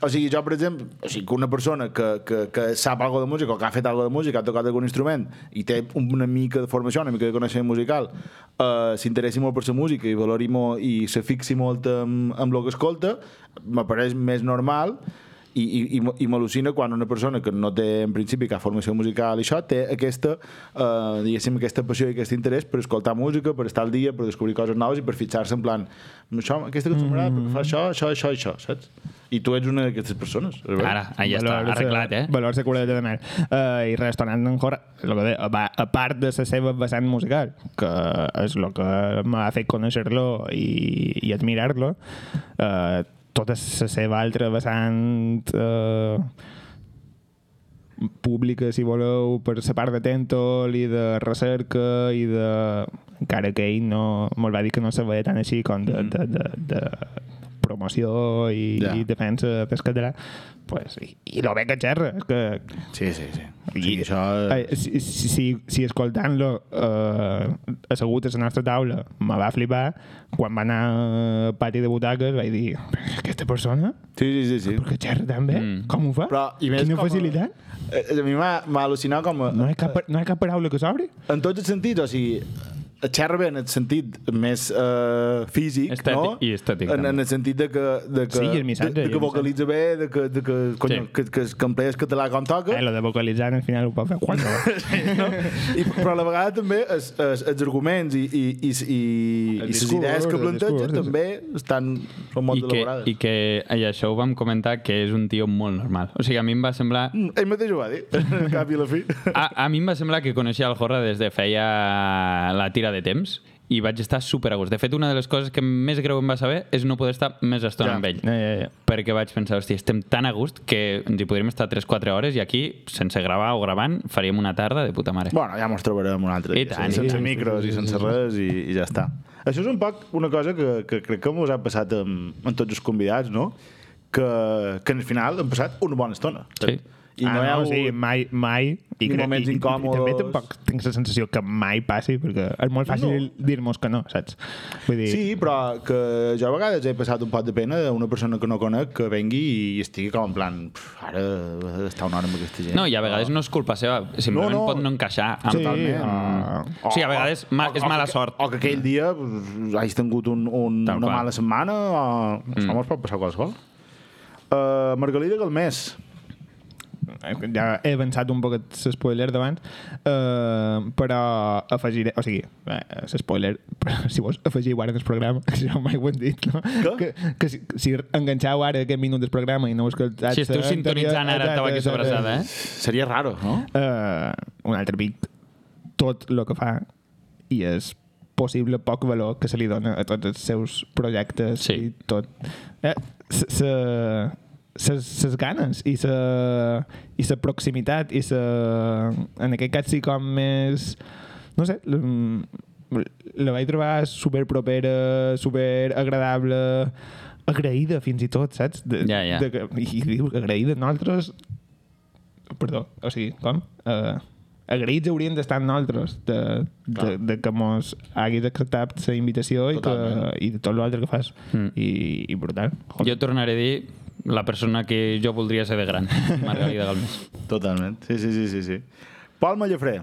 O sigui, jo, per exemple, o sigui, que una persona que, que, que sap alguna de música o que ha fet alguna de música, ha tocat algun instrument i té una mica de formació, una mica de coneixement musical, eh, s'interessi molt per la música i valori molt i se fixi molt en, en el que escolta, m'apareix més normal i, i, i, m- i m'al·lucina quan una persona que no té en principi cap formació musical i això té aquesta, eh, diguéssim, aquesta passió i aquest interès per escoltar música, per estar al dia, per descobrir coses noves i per fitxar-se en plan "Mm, això, aquesta cançó m'agrada perquè fa això, això, això, això, saps? I tu ets una d'aquestes persones. és veritat? Ara, ahí ja està, Valor ser- arreglat, eh? Valor ser curat de mer. Uh, I res, tornant en Jorra, el que deia, va, a part de la seva vessant musical, que és el que m'ha fet conèixer-lo i, i admirar-lo, uh, tota la seva altra vessant... Uh, pública, si voleu, per la part de Tentol i de recerca i Mm. de... Encara que ell no... Me'l va dir que no se veia tant així com de, de, de, de promoció i, Ja. yeah. i defensa del català, pues, i, i lo bé que xerra. És que, Sí, sí, sí. O i, sigui, això... eh, si, si, si, si escoltant-lo eh, assegut a la nostra taula me va flipar, quan va anar al pati de butaques vaig dir, aquesta persona, Sí, sí, sí. sí. per què xerra tan bé? Mm. Com ho fa? Però, i més Quina com a- facilitat? Eh, A mi m'ha m'ha al·lucinat com... A, No hi, ha cap, no hi ha cap paraula que s'obri? En tots els sentits, o sigui, xerra bé en el sentit més eh, físic, Estètic- no? i estètic, En, també. en el sentit de que, de que, Sí, i el missatge, de, i de el missatge. que vocalitza bé, de que, de que, conyo, Sí. que, que, es- que emplees català com toca, Eh, lo de vocalitzar al final ho pot fer quan (laughs) no? I, però a la vegada també es, es, els arguments i, i, i, i, El i les discurs, idees que el planteja discurs, sí, sí. també estan, són I molt que, elaborades. i que i això ho vam comentar que és un tio molt normal. O sigui, a mi em va semblar... Mm, Ell mateix ho va dir, (laughs) al cap i a la fi. A, a mi em va semblar que coneixia el Jorra des de feia la tira de temps i vaig estar super a gust. De fet, una de les coses que més greu em va saber és no poder estar més estona Ja. amb ell. Ja, ja, ja. Perquè vaig pensar, hòstia, estem tan a gust que ens hi podríem estar 3-4 hores i aquí, sense gravar o gravant, faríem una tarda de puta mare. Bueno, ja mos trobarem un altre I dia, tant, sí, i sense tant. micros i sense res i, i ja està. Això és un poc una cosa que, que crec que mos ha passat amb, amb tots els convidats, no? Que, que al final hem passat una bona estona. Sí. I Ah, no, hi ha hagut... sí, mai, mai. ni moments i, I, incòmodes. i, també tampoc tinc la sensació que mai passi, perquè és molt fàcil No. dir-nos que no, saps? Vull dir, Sí, però que jo a vegades he passat un pot de pena d'una persona que no conec que vengui i estigui com en plan "Pf, ara està una hora amb aquesta gent. No, i a vegades no és culpa seva, simplement No, no. no, no. pot no encaixar. Amb Sí, ah. O sigui, a vegades ma- és o mala que- sort. O que aquell dia pues, hagis tingut un, un, Tal una qual. mala setmana o... Mm. Home, es pot passar qualsevol. Uh, Margalida Galmés. eh, ja he avançat un poquet l'espoiler d'abans, eh, però afegiré, o sigui, eh, l'espoiler, (laughs) però si vols afegiu ara en el programa, (laughs) que això mai ho hem dit, no? Què? Que, que si, si enganxeu ara aquest minut del programa i no heu escoltat... Si esteu l'anterior- sintonitzant ara Exacte, Tabaquí exacte. Sobrasada, eh? Seria raro, no? eh, un altre pic tot el que fa i és possible poc valor que se li dona a tots els seus projectes Sí. i tot. Eh, se, se, ses, ses ganes i se, i se proximitat i se, en aquest cas sí com més no sé l- mm, la vaig trobar super propera super agradable agraïda fins i tot, saps? De, Ja, ja. De, que- i diu que agraïda nosaltres perdó, o sigui, com? Uh, agraïts hauríem d'estar nosaltres de, de, Clar. de que mos haguis acceptat la invitació i, que, Totalment. i de tot l'altre que fas Mm. mm. I, i brutal Jo tornaré a dir la persona que jo voldria ser de gran, Margalida Galmés. Totalment. Sí, sí, sí, sí. sí. Pol Mallafré.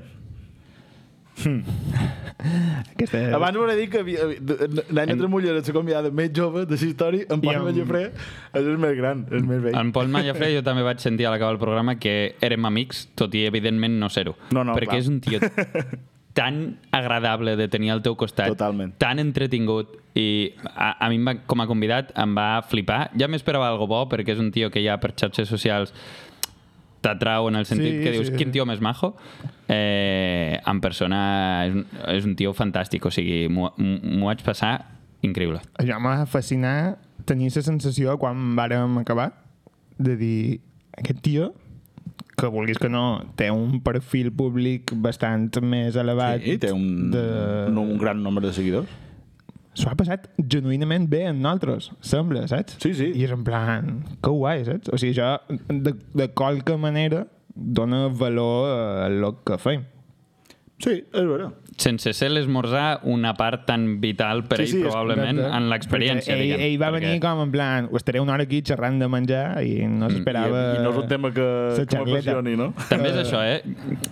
Aquesta és... Abans volia dir que havia- havia- Nanya Tremoller és la convidada més jove de la història, en Pol I amb- Mallafré és el més gran, el més vell. En Pol Mallafré jo també vaig sentir a l'acabar el programa que érem amics, tot i evidentment no ser-ho. No, no, clar. perquè és un (laughs) tio tan agradable de tenir al teu costat, Totalment. tan entretingut, i a, a mi em va, com a convidat em va flipar. Ja m'esperava algo bo, perquè és un tio que ja per xarxes socials t'atrau en el sentit Sí, sí, que dius, sí, sí, quin sí. tio més majo. Eh, en persona és un, és un tio fantàstic, o sigui, m'ho m'ho vaig passar increïble. Allò em va fascinar tenir la sensació quan vàrem acabar de dir aquest tio que vulguis que no, té un perfil públic bastant més elevat Sí, té un, de... un, un gran nombre de seguidors. s'ho ha passat genuïnament bé en nosaltres, sembla, saps? Sí, sí. I és en plan, que guai, saps? O sigui, jo, de, de qualque manera, dona valor a el que fem. Sí, és vera. sense ser l'esmorzar una part tan vital per Sí, sí, sí, ell, sí, és probablement, Exacte. en l'experiència, Perquè diguem. Ell, ell va venir perquè com en plan, ho estaré una hora aquí xerrant de menjar i no s'esperava... I, I no és un tema que, la que xarleta. m'apassioni, no? També és això, eh?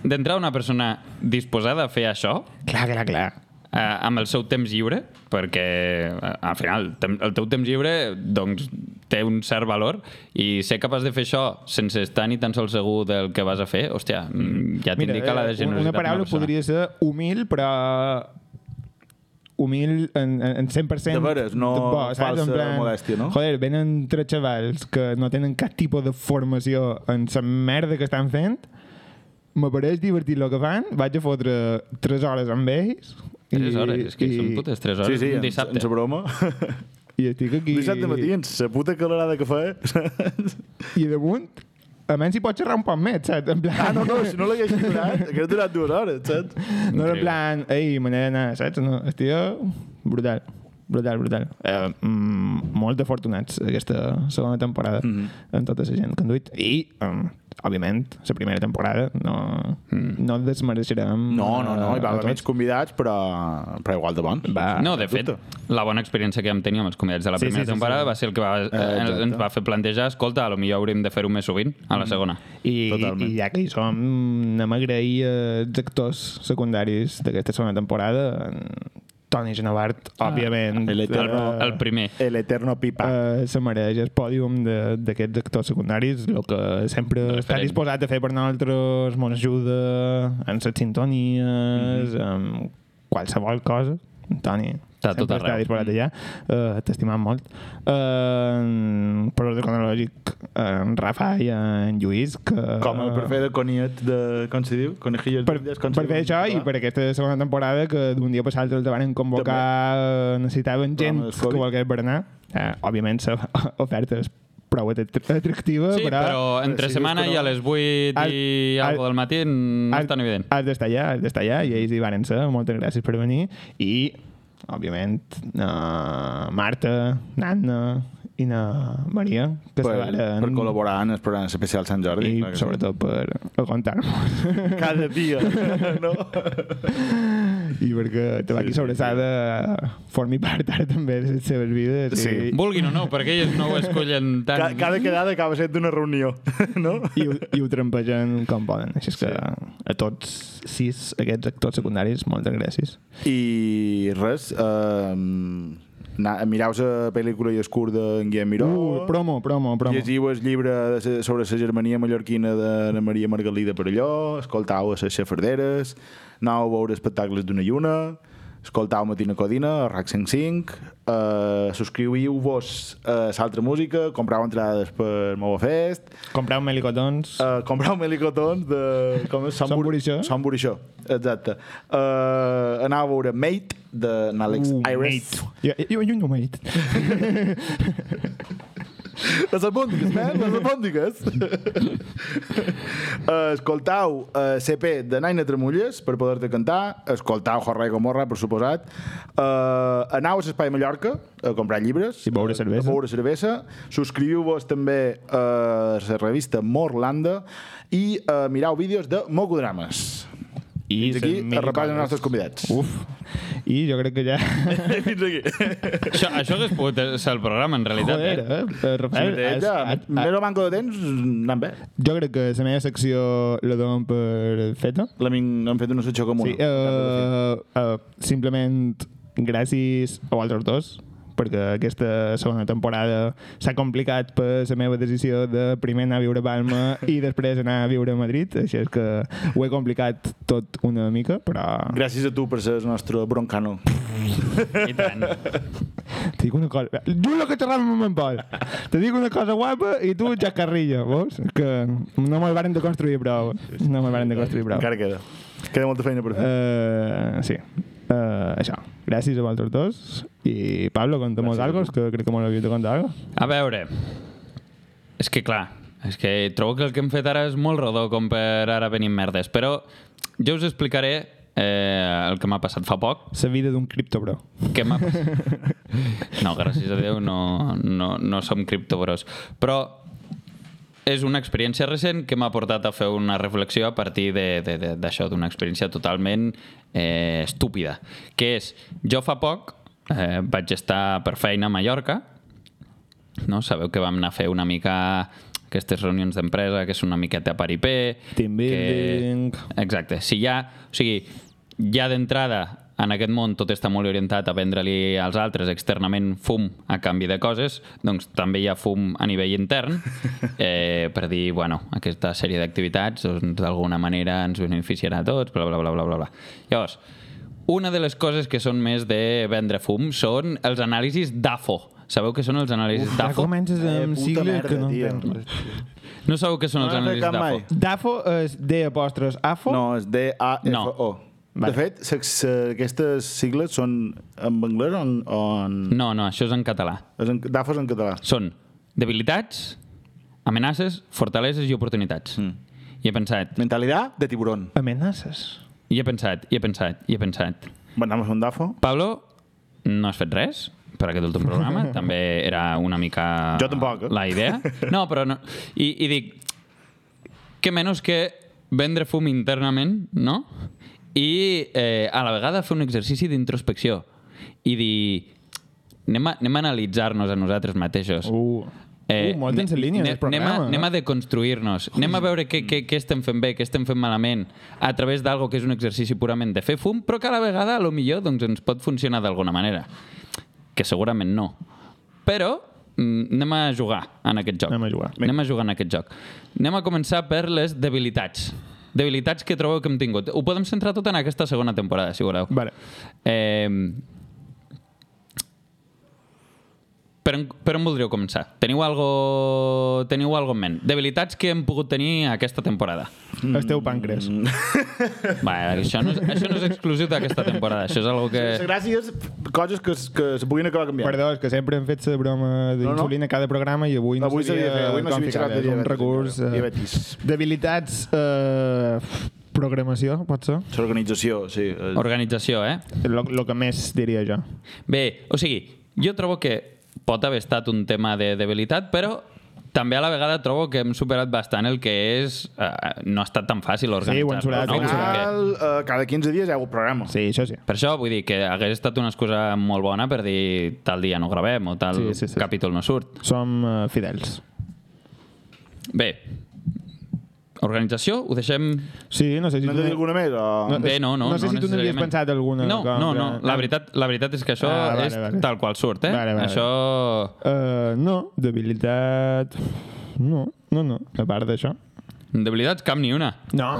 D'entrar una persona disposada a fer això, Clar, clar, clar. eh, amb el seu temps lliure, perquè eh, al final tem- el teu temps llibre doncs, té un cert valor i ser capaç de fer això sense estar ni tan sols segur del que vas a fer, hòstia, mm, ja t'indica la eh, generositat. una d'una paraula persona. podria ser humil, però humil en, en en 100% De veres, no falsa modèstia, no? Joder, venen tres xavals que no tenen cap tipus de formació en la merda que estan fent, m'apareix divertit el que fan, vaig a fotre 3 hores amb ells... Tres hores, és que i, són putes tres hores, Sí, sí, un en, dissabte. en sa broma. I estic aquí... Dissabte matí, en sa puta calorada (laughs) que fa. eh? I damunt, almenys hi pots xerrar un poc més, saps? En plan, ah, no, no, si no l'hagués durat, (laughs) hagués durat dues hores, saps? No era Increïble. en plan, ei, manera d'anar, saps? No, el tio, brutal. brutal, brutal. Eh, mm, molt afortunats aquesta segona temporada mm Mm-hmm. -hmm. amb tota la gent que han duit. I, um, òbviament, la primera temporada no, mm. no desmereixerem... No, no, no, eh, hi va a haver tots. menys convidats, però, però igual de bons. Va, No, de fet, la bona experiència que vam tenir amb els convidats de la Sí, sí, primera sí, temporada sí. va ser el que va, eh, ens va fer plantejar escolta, a lo millor hauríem de fer-ho més sovint a la segona. I, Totalment. I ja que hi som, anem a agrair als actors secundaris d'aquesta segona temporada. En Toni Genovart, òbviament. Ah, el El, eterno- eh, el primer. El eterno E pipa. eh, se mereix el pòdium de- d'aquests actors secundaris, el que sempre està Referent. disposat a fer per nosaltres, mos ajuda, en set sintonies, mm -hmm. en qualsevol cosa. Toni, Mhm. Està a tot sempre està arreu. Mhm. disposat allà. Uh, T'estimam molt. Uh, per ordre cronològic, en Rafa i en Lluís, que... Eh, Com el per fer de Coniet de... Com se diu? Conejillos per, verdes, per com se fer diu? això i per aquesta segona temporada que d'un dia per l'altre els van convocar, eh, necessitaven gent Programa del que Covid. volgués berenar. Eh, òbviament (laughs) l'oferta és prou atrac- atractiva, Sí, però... però entre si dius setmana que no- i a les 8 i Has- algo del matí mm, no has- és tan evident. Has d'estar allà, has d'estar allà, i ells hi van ser. Moltes gràcies per venir. I, òbviament, eh, Marta, Nanna i na Maria, que Per, se varen... per col·laborar en el programa especial Sant Jordi. i clar que sí. sobretot per aguantar-nos. (laughs) Cada (laughs) dia, no? I perquè Tabaqui sí, Sobressada formi part ara també de les seves vides. Sí. I, Vulguin o no, perquè ells no ho escollen Ca- tant. Cada quedada acaba sent d'una reunió, (laughs) no? i, ho- i ho trampegen com poden. Així és que a tots sis aquests actors secundaris, moltes gràcies. I res, um, mireu la pel·lícula i escur d'en Guillem Miró. Uh, promo, promo, promo. Llegiu el llibre de se- sobre la germania mallorquina de la Maria Margalida per allò, escoltau a les xafarderes, anau a veure espectacles d'una lluna, escoltau Matina Codina, a RAC 105, eh, subscriviu-vos a l'altra música, comprau entrades per Mova Fest, Compreu melicotons. Uh, Uh, comprar melicotons de... Com és? Sant Burixó. Sant Burixó, exacte. Uh, anar a veure Mate, de Alex uh, Iris. Jo, jo, jo no mate. Les albòndigues, man, les (laughs) albòndigues. uh, escoltau uh, CP de Naina Tremulles per poder-te cantar. Escoltau Jorge Gomorra, per suposat. Uh, anau a l'Espai Mallorca a comprar llibres. I beure cervesa. A beure cervesa. Subscriviu-vos també eh, a la revista Morlanda i uh, mirau vídeos de Mocodrames. I Fins aquí el repàs dels nostres convidats. Uf. I jo crec que ja... (laughs) Fins aquí. Això, això hagués pogut ser el programa, en realitat. Joder, eh? eh? eh Rafael, has- Ja, has- Mero manco de temps, anant bé. jo crec que la meva secció la donem per feta. L'hem hem fet una sotxa comuna. Sí, eh, eh, simplement gràcies a vosaltres dos perquè aquesta segona temporada s'ha complicat per la meva decisió de primer anar a viure a Palma i després anar a viure a Madrid, així és que ho he complicat tot una mica, però Gràcies a tu per ser el nostre broncano. I tant. te dic una cosa... Jo el que xerràvem amb en Pol! Te dic una cosa guapa i tu ja carrilla, veus? Que no me'l varen de construir prou. No me'l varen de construir prou. Encara queda. Queda molta feina per fer. Eh, sí. Eh, això. Gràcies a vosaltres dos. I Pablo, conta'm molts algos, que crec que molt havies de contar algo. A veure, és que clar, és que trobo que el que hem fet ara és molt rodó com per ara venir amb merdes, però jo us explicaré eh, el que m'ha passat fa poc, La vida d'un criptobro. que (laughs) m'ha passat... No, gràcies a Déu no, no, no som criptobros, però és una experiència recent que m'ha portat a fer una reflexió a partir de- de- de- d'això, d'una experiència totalment eh, estúpida, que és, jo fa poc eh, vaig estar per feina a Mallorca, no? sabeu que vam anar a fer una mica aquestes reunions d'empresa, que és una miqueta paripé... Team building. Que... Exacte. Si ja, o sigui, ja d'entrada en aquest món tot està molt orientat a vendre-li als altres externament fum a canvi de coses, doncs també hi ha fum a nivell (laughs) intern eh, per dir, bueno, aquesta sèrie d'activitats doncs, d'alguna manera ens beneficiarà a tots, bla, bla, bla, bla, bla, bla. Llavors, una de les coses que són més de vendre fum són els anàlisis d'AFO. Sabeu què són els anàlisis Ja d'AFO? comences amb sigles que no tio. entenc. No sabeu què són No els n'ha fet anàlisis cap d'AFO? mai. Dafo és D apòstrof afo. No, és D-A-F-O. De Vale. fet, se- se- aquestes sigles són en anglès o en... o en- No, no, això és en català. és en- Dafos en català. Són debilitats, amenaces, fortaleses i oportunitats. Mm. I he pensat, Mentalitat de tiburón. Amenaces. i he pensat, i he pensat, i he pensat. Vam anar a un Dafo. Pablo, no has fet res per aquest últim (laughs) programa, també era una mica Jo tampoc, eh? la idea. No, però no. I, I dic, que menys que vendre fum internament, no? I eh, a la vegada fer un exercici d'introspecció i dir, anem a, anem a analitzar-nos a nosaltres mateixos. Uh, uh molt tens en línia Eh, ne- del programa. eh? Anem a, anem a deconstruir-nos, anem a veure què, què, què estem fent bé, què estem fent malament, a través d'algo que és un exercici purament de fer fum, però que a la vegada, a lo millor, doncs, ens pot funcionar d'alguna manera. Que segurament no. Però mm, anem a jugar en aquest joc. Anem a jugar. Anem a jugar en aquest joc. Anem a començar per les debilitats. Debilitats que trobeu que hem tingut. Ho podem centrar tot en aquesta segona temporada, si voleu. Vale. Eh, per, on- per on voldríeu començar? Teniu algo, teniu algo en ment? Debilitats que hem pogut tenir aquesta temporada. Mm. Esteu pàncreas. Mm. Va, això, no és, això no és exclusiu d'aquesta temporada. Això és algo que... Gràcies, coses que, es- que se puguin acabar canviant. Perdó, és que sempre hem fet la broma d'insulina no, no. cada programa i avui no Avui sabia, s'havia de fer, avui no com s'havia ficar-la. xerrat de És un diabetes, recurs... encara. eh, Diabetis. Debilitats... Eh, programació, pot ser? L'organització, sí. eh, Organització, eh? Lo, lo que més diria jo. Bé, o sigui, jo trobo que pot haver estat un tema de debilitat, però també a la vegada trobo que hem superat bastant el que és... Eh, no ha estat tan fàcil ho hem organitzar. superat, ho hem superat. Al, eh, cada 15 dies hi ha un programa. Sí, això sí. Per això vull dir que hagués estat una excusa molt bona per dir tal dia no gravem o tal Sí, sí, sí. capítol no surt. Som eh, fidels. Bé, organització, ho deixem... Sí, no sé si... No tu t'he dit alguna més? O... No, Bé, no, no. no sé si tu n'havies necessàriament. pensat alguna, No, com no, que- no. La veritat, la veritat és que això Ah, vale, és vale. tal qual surt, eh? Vale, vale. Això... Eh, no, debilitat... No, no, no. A part d'això. Debilitats, cap ni una. No.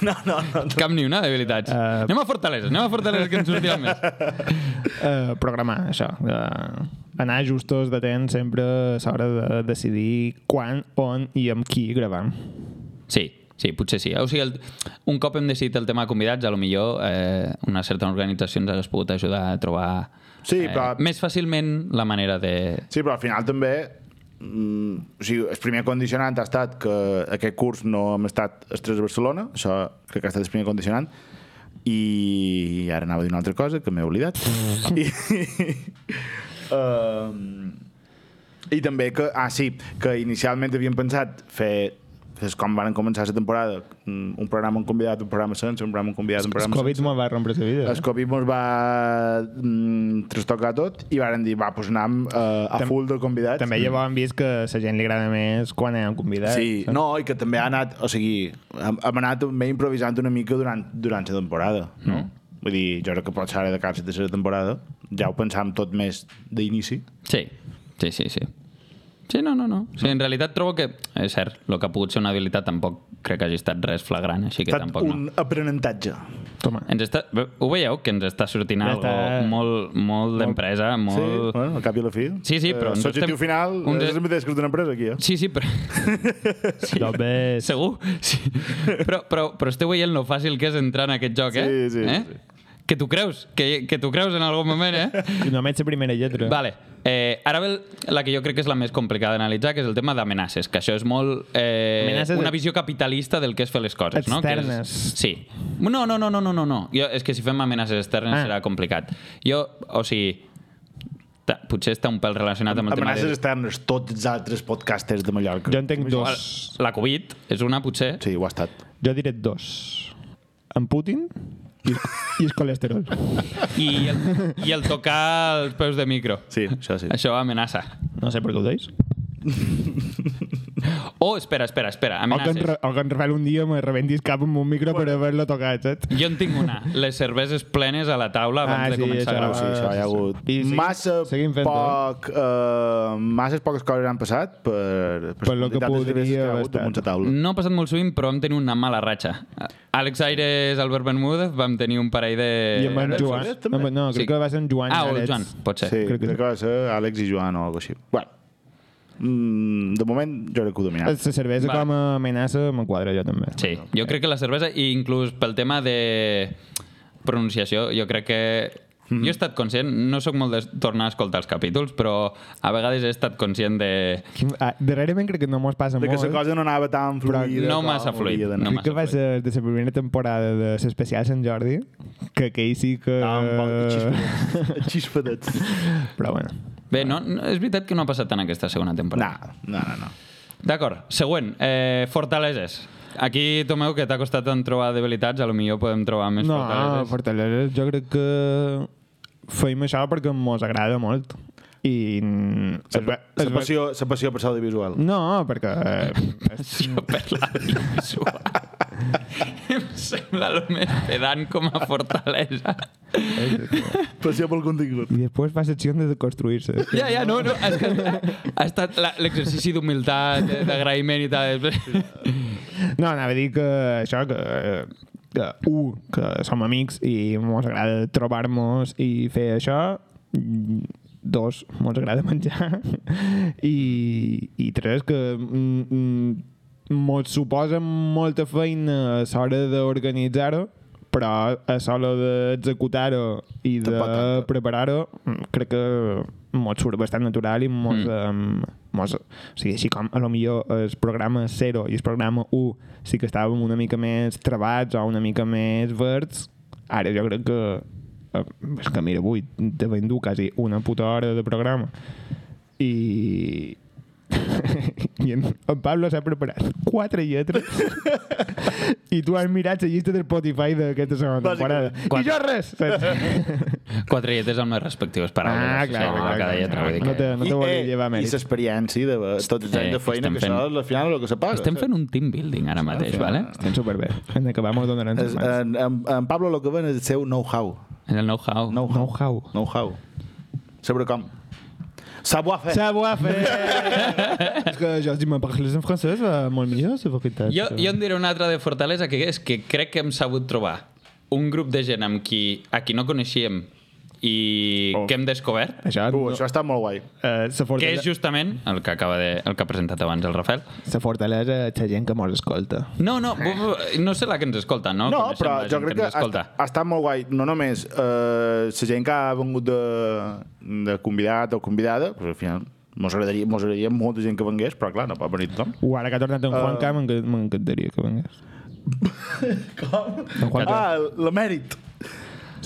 no, no, no. Cap ni una, debilitats. Eh, Anem a fortaleses, anem a fortaleses que ens sortirà més. (laughs) Eh, programar, això. Eh, anar justos de temps sempre a l'hora de decidir quan, on i amb qui gravam. Sí, sí, potser sí. O sigui, el, un cop hem decidit el tema de convidats, a lo millor eh, una certa organització ens hagués pogut ajudar a trobar eh, Sí, però- més fàcilment la manera de... Sí, però al final també mm, o sigui, el primer condicionant ha estat que aquest curs no hem estat els tres a Barcelona, això crec que ha estat el primer condicionant, i ara anava a dir una altra cosa que m'he oblidat. I, um, I també que, ah sí, que inicialment havien pensat fer és com van començar la temporada mm, un programa amb convidat, un programa sense un programa amb convidat, un El programa Covid me'n va rompre la vida. eh? el Covid mos va mm, trastocar tot i varen dir, va, doncs anem eh, a Tam- full de convidats. També llavors hem vist que a la gent li agrada més quan hi ha un convidat. Sí, eh? saps? no, i que també ha anat, o sigui, hem, hem anat també improvisant una mica durant, durant la temporada, no? Mm. Vull dir, jo crec que potser ara de cap a la tercera temporada ja ho pensàvem tot més d'inici. Sí, sí, sí, sí. Sí, no, no, no. Sí, en realitat trobo que, és cert, el que ha pogut ser una habilitat tampoc crec que hagi estat res flagrant, així que Ha estat tampoc un no. aprenentatge. (laughs) Toma. Ens està, ve- ho veieu? Que ens està sortint Ja algo està. molt, molt d'empresa, Sí, molt... bueno, al cap i a la fi. Sí, sí, però Eh, ens L'objectiu estem- final un de- és el mateix que el d'una empresa, aquí, eh? Sí, sí, però... Sí. Ves. Eh, Segur? (laughs) Sí. Però, però, però esteu veient lo fàcil que és entrar en aquest joc, eh? Sí, sí, eh? sí. Que t'ho creus, que, que t'ho creus en algun moment, eh? (laughs) I només la primera lletra. Vale. Eh, ara ve el- la que jo crec que és la més complicada d'analitzar, que és el tema d'amenaces, que això és molt... Eh, Amenaces una de- visió capitalista del que és fer les coses, no? Que Externes. És... Sí. No, no, no, no, no, no. no. Jo, és que si fem amenaces externes Ah. ah. serà complicat. Jo, o sigui... ta- Potser està un pèl relacionat amb el tema Amenaces de... externes, tots els altres podcasters de Mallorca. Jo en tinc dos. La Covid és una, potser. Sí, ho ha estat. Jo diré dos. En Putin i, i el colesterol. I el, I el tocar els peus de micro. Sí, això sí. Això amenaça. No sé per què ho deis. Oh, espera, espera, espera. O que, en, Amenaces. Ra- o que en Rafael un dia me rebentis cap amb un micro per haver-lo tocat, saps? Jo en tinc una. Les cerveses plenes a la taula abans Ah, ah, de sí, començar això. a Ah, gravar. sí, això hi ha hagut I seguim- massa, seguim fent-ho, poc, eh, masses poques coses han passat per, Per lo que quantitat de cerveses podria que hi ha haver hagut damunt la estat. Mm, taula. No ha passat molt sovint, però vam tenir una mala ratxa. Àlex Aires, Albert Bermúdez, vam tenir un parell de... I amb en ara Joan. Ferrer, també? Amb, no, crec Sí. que va ser en Joan. Ah, o el Arets. Joan, pot ser. Sí, crec crec que- que va ser Àlex i Joan o alguna cosa així. Bueno, mm, de moment jo crec que ho dominava. La cervesa Vale. com a amenaça m'enquadra jo també. Sí, jo crec que la cervesa, i inclús pel tema de pronunciació, jo crec que Mm-hmm. Mm -hmm. Jo he estat conscient, no sóc molt de tornar a escoltar els capítols, però a vegades he estat conscient de... Quin- ah, Darrerament crec que no mos passa De que molt. la cosa no anava tan Però fluida. no com massa hauria fluid, d'anar. no. Crec que va massa ser de la primera temporada de l'especial Sant Jordi, que aquell sí que... Ah, un poc de xispadets. (laughs) xispadets. (laughs) Però bueno. Bé, no, no, és veritat que no ha passat tant aquesta segona No, temporada. no, no. no. D'acord, següent. Eh, fortaleses. Aquí, Tomeu, que t'ha costat en trobar debilitats, a lo millor podem trobar més No, fortaleses. (laughs) Fortalesa, jo crec que feim això perquè mos agrada molt. I... La, es va- es la, va- Mm. passió, la passió per l'audiovisual. No, perquè... Passió per l'audiovisual. (laughs) em sembla el més pedant com (laughs) a fortalesa. (laughs) Passió pel contingut. eh, I després va secció de construir-se. Ja, ja, no, no, és que ha, ha estat la- l'exercici d'humilitat, eh, d'agraïment i tal. No, anava a dir que això, que, eh, que un, que som amics i mos agrada trobar-nos i fer això, Mm, dos, mos agrada (laughs) menjar, i, i tres, que mm, mm, mos suposa molta feina a l'hora d'organitzar-ho, però a l'hora d'executar-ho i de Tampoc tanta. preparar-ho, mm, crec que mos surt bastant natural i mos, mm. um, mos, o sigui, així com a lo millor el programa 0 i el programa 1 sí que estàvem una mica més trebats o una mica més verds, ara jo crec que eh, és que mira, avui te ben dur quasi una puta hora de programa i (laughs) i en, en Pablo s'ha preparat quatre lletres i tu has mirat la llista de Spotify d'aquesta segona temporada i jo res saps? Quatre lletres amb les respectives paraules. Ah, o clar, sigui, clar, cada clar, lletra, clar. vull dir No que- te- no te volia llevar I mèrit. l'experiència de tots els Eh, anys de feina, estem que fent- això al final és el que se paga. Estem fent un team building ara mateix, vale? Estem superbé. Ens acabem donant Es, eh, en, en, en Pablo lo que ven és el seu know-how. És el know-how. Know-how. Know-how. Know-how. Sobre com. Savoir faire. Savoir (laughs) faire! és que jo, si me parles en francès, va molt millor, la veritat. Jo, jo en diré una altra de fortalesa, que és que crec que hem sabut trobar un grup de gent amb qui, a qui no coneixíem i oh. que hem descobert, Això, Uh, no, això està molt guai. eh, la que és fortalesa, justament el que acaba de, el que ha presentat abans el Rafael. la fortalesa és la gent que mos escolta. No, no, bu- bu- no sé la que ens escolta, no? No, Coneixem però la gent jo crec que ens escolta. ha, ha estat molt guai. No només eh, la gent que ha vengut de, de convidat o convidada, pues, al final mos agradaria, mos agradaria molta gent que vengués, però clar, no pot venir tothom. O Uh, ara que ha tornat en Juan Cam, uh, m'encantaria que (laughs) vengués. Com? En Juan Cam. Ah, l'emèrit.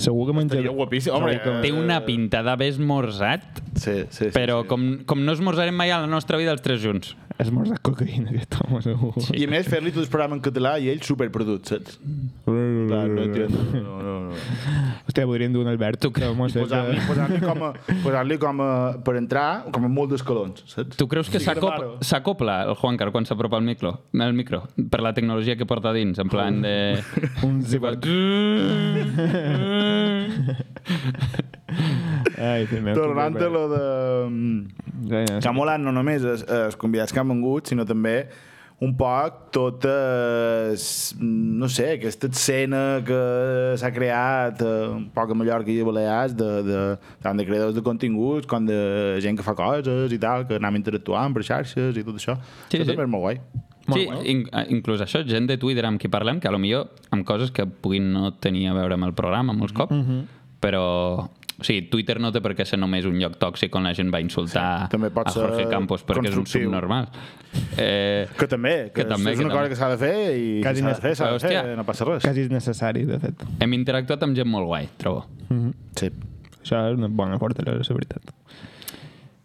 Segur que menjarà. Seria guapíssim. Home, Segur Té una pinta d'haver esmorzat, Sí, sí, sí. però com, com no esmorzarem mai a la nostra vida els tres junts. que has morsat cocaïna, aquest home, segur. Sí. I a més, fer-li tot el programa en català i ell superproduït, saps? Clar, no entiendo. No, no, no. Hòstia, podríem dur un Albert. Tu que mos fes eh. Posar-li de... posar com, (laughs) a, posar com a, per entrar, com a molt d'escalons, saps? Tu creus que Sí, s'acop- claro. s'acopla el Juancar quan s'apropa al micro, al micro per la tecnologia que porta a dins, en plan (laughs) de... un zipper. (laughs) Ai, fill meu. Tornant a lo de... mm, Ja, Que ha ja. molat no només els, els convidats que han vengut, sinó també un poc totes, mm, no sé, aquesta escena que s'ha creat eh, un poc a Mallorca i a Balears de, de, tant de creadors de continguts com de gent que fa coses i tal, que anem interactuant per xarxes i tot això. Sí, Sí, això sí. sí. també és (laughs) molt guai. Sí, in, ah, inclús això, gent de Twitter amb qui parlem, que a lo millor amb coses que puguin no tenir a veure amb el programa molts cops, mm Mhm. -hmm. però... O sigui, Twitter no té per què ser només un lloc tòxic on la gent va insultar també pot a Jorge ser Campos perquè és un constructiu. subnormal. Eh, Que també, que, Que també, és que una cosa també. que s'ha de fer i que Quasi s'ha de no- fer, s'ha de fer, Hòstia. no passa res. Quasi és necessari, de fet. Mhm. hem interactuat amb gent molt guai, trobo. Sí. Això és una bona fortalesa, la veritat. Oh!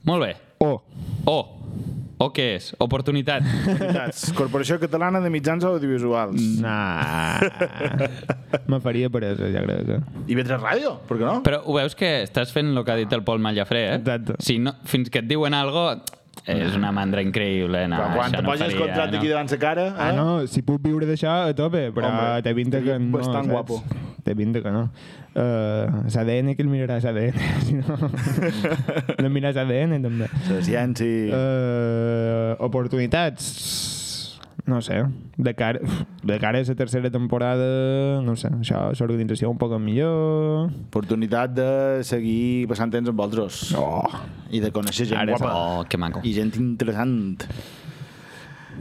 Molt bé. O, O. O què és? (laughs) Oportunitat. Veritats. Corporació Catalana de Mitjans Audiovisuals. Mm. (laughs) nah, me faria peresa, ja crec eh. que. I vetres ràdio, per què no? Però ho veus que estàs fent el que ha dit el Pol Mallafré, eh? Exacte. Si no, fins que et diuen algo, és una mandra increïble. No, Però quan això te no posis el faria, contracte no. aquí davant la cara... eh? Ah, no, si puc viure d'això, a tope, però Hombre, té pinta que no, bastant saps? guapo. Té pinta que no. Uh, S'ADN, que el mirarà s'ADN, (laughs) si (laughs) no... no mirar s'ADN, també. La ciència... Eh, oportunitats no sé, de cara, de cara a la tercera temporada no sé, això, l'organització un poc millor Oportunitat de seguir passant temps amb altres. oh. I de conèixer gent Ara és- guapa. oh, que maco. I gent interessant.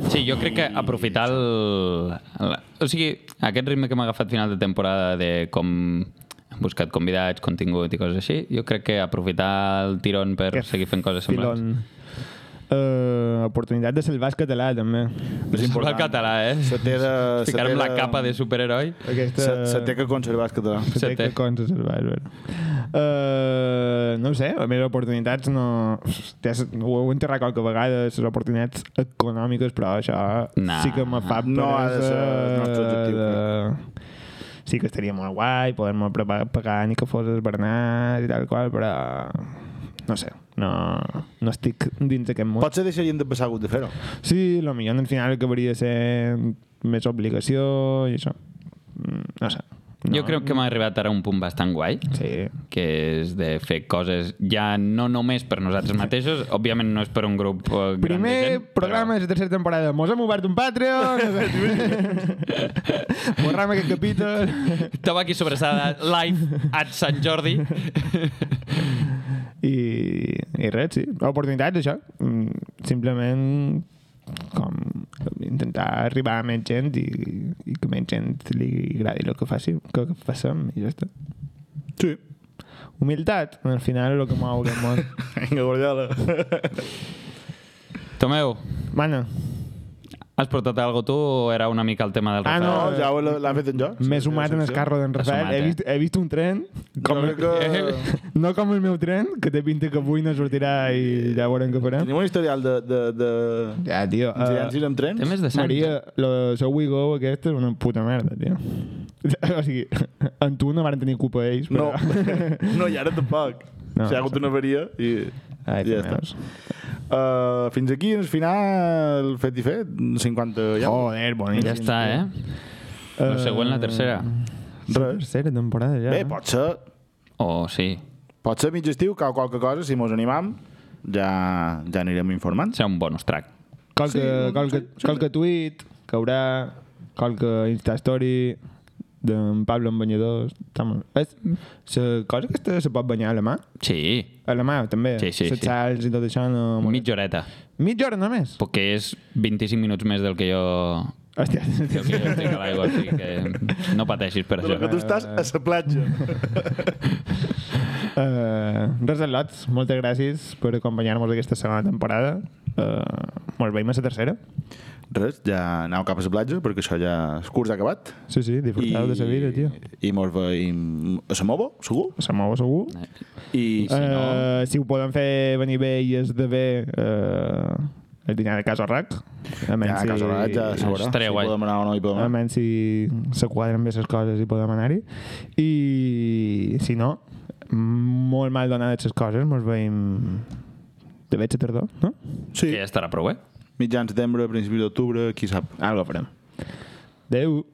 Sí, jo crec que aprofitar el... el o sigui, aquest ritme que m'ha agafat final de temporada de com hem buscat convidats, contingut i coses així. Jo crec que aprofitar el tirón per Aquest seguir fent coses semblants. filon. Eh, oportunitat de salvar el català, també. És important. El català, eh? Se té de- se té Ficar-me la de- capa de superheroi. Aquesta... Se, se té que conservar el català. Se té té. que cons salvar, és veritat. Eh, no ho sé, a més oportunitats no... Tens, ho heu enterrat qualque vegada, les oportunitats econòmiques, però això Nah. sí que me fa No ha de ser peresa el nostre objectiu, de... Sí que estaria molt guai poder-me prepa- pagar ni que fos esbarnat i tal qual, però no sé, no, no estic dins d'aquest món. Potser deixarien de passar hagut de fer-ho. Sí, lo millor al final acabaria sent més obligació i això. Mm, No sé. No. Jo crec que m'ha arribat ara un punt bastant guai. Sí. que és de fer coses ja no només per nosaltres mateixos, òbviament no és per un grup eh, gran Primer de gent, programa de la tercera temporada. Mos hem obert un Patreon. Borrem aquest capítol. Però... Tabac i sobrassada live at Sant Jordi. I, i res, sí. Oportunitats, això. Mm, Simplement com intentar arribar a més gent i, i que més gent li agradi el que faci, que, que facem i ja està. Sí. Humilitat, al final, el que mou el món. Vinga, Guardiola. Tomeu, Mana, has portat alguna cosa tu o era una mica el tema del Ah, Rafael? No, ja ho l'ha fet en jo. M'he sumat en el carro d'en Rafael. sumat, he, eh? vist, he vist un tren, com (laughs) Jo el, crec que- no com el meu tren, que té pinta que avui no sortirà i ja veurem què farem. Tenim un historial de... de, de... Ja, tio. eh, Incidències amb trens? Temes de Sants. Maria, lo de So We Go aquesta és una puta merda, (laughs) tio. O sigui, en tu no van tenir culpa ells, No, però... (laughs) no, i ara tampoc. No, Ah, No, si hi ha hagut una avaria i... Ai, ja ja està. Uh, fins aquí, al final, fet i fet, 50 ja. Joder, boníssim. Ja està, eh? No següent la tercera. Res. Tercera Ah, temporada, ja. Bé, pot ser, Oh, sí. pot ser mig estiu, cau qualque cosa, si mos animam, ja, ja anirem informant. Serà un bonus track. Qualque, sí, qualque, sí, qualque tuit caurà, qualque instastory d'en Pablo en banyadors. Està molt- És, la cosa aquesta se pot banyar a la mà? Sí, A la mà, també. Sí, sí, Les sí. sals i tot això no... mitja horeta. Mitja hora només? Perquè és 25 minuts més del que jo... Hòstia. Del que jo estic a l'aigua, així que (laughs) no pateixis per De lo que això. tu estàs a la platja. Uh, res del lots. Moltes gràcies per acompanyar-nos aquesta segona temporada. Uh, Ens veiem a la tercera. Res, ja anau cap a la platja, perquè això ja... El curs ha acabat. Sí, sí, disfruteu I... de la vida, tio. I mos veiem a la Movo, segur. Se mou segur. Eh, I, Si no- Eh, si ho poden fer venir bé i esdevé eh, el dinar de Casa Rac. Ja, a casa Horat ja se veurà. Estaria si guai. podem anar o no hi podem anar. Almenys si s'quadren bé les coses i podem anar-hi. I si no, molt mal donades les coses, mos veiem de veig a tardor, no? Sí, Que ja estarà prou, eh? mitjans d'embre, principi d'octubre, qui sap. Algo farem. Adéu.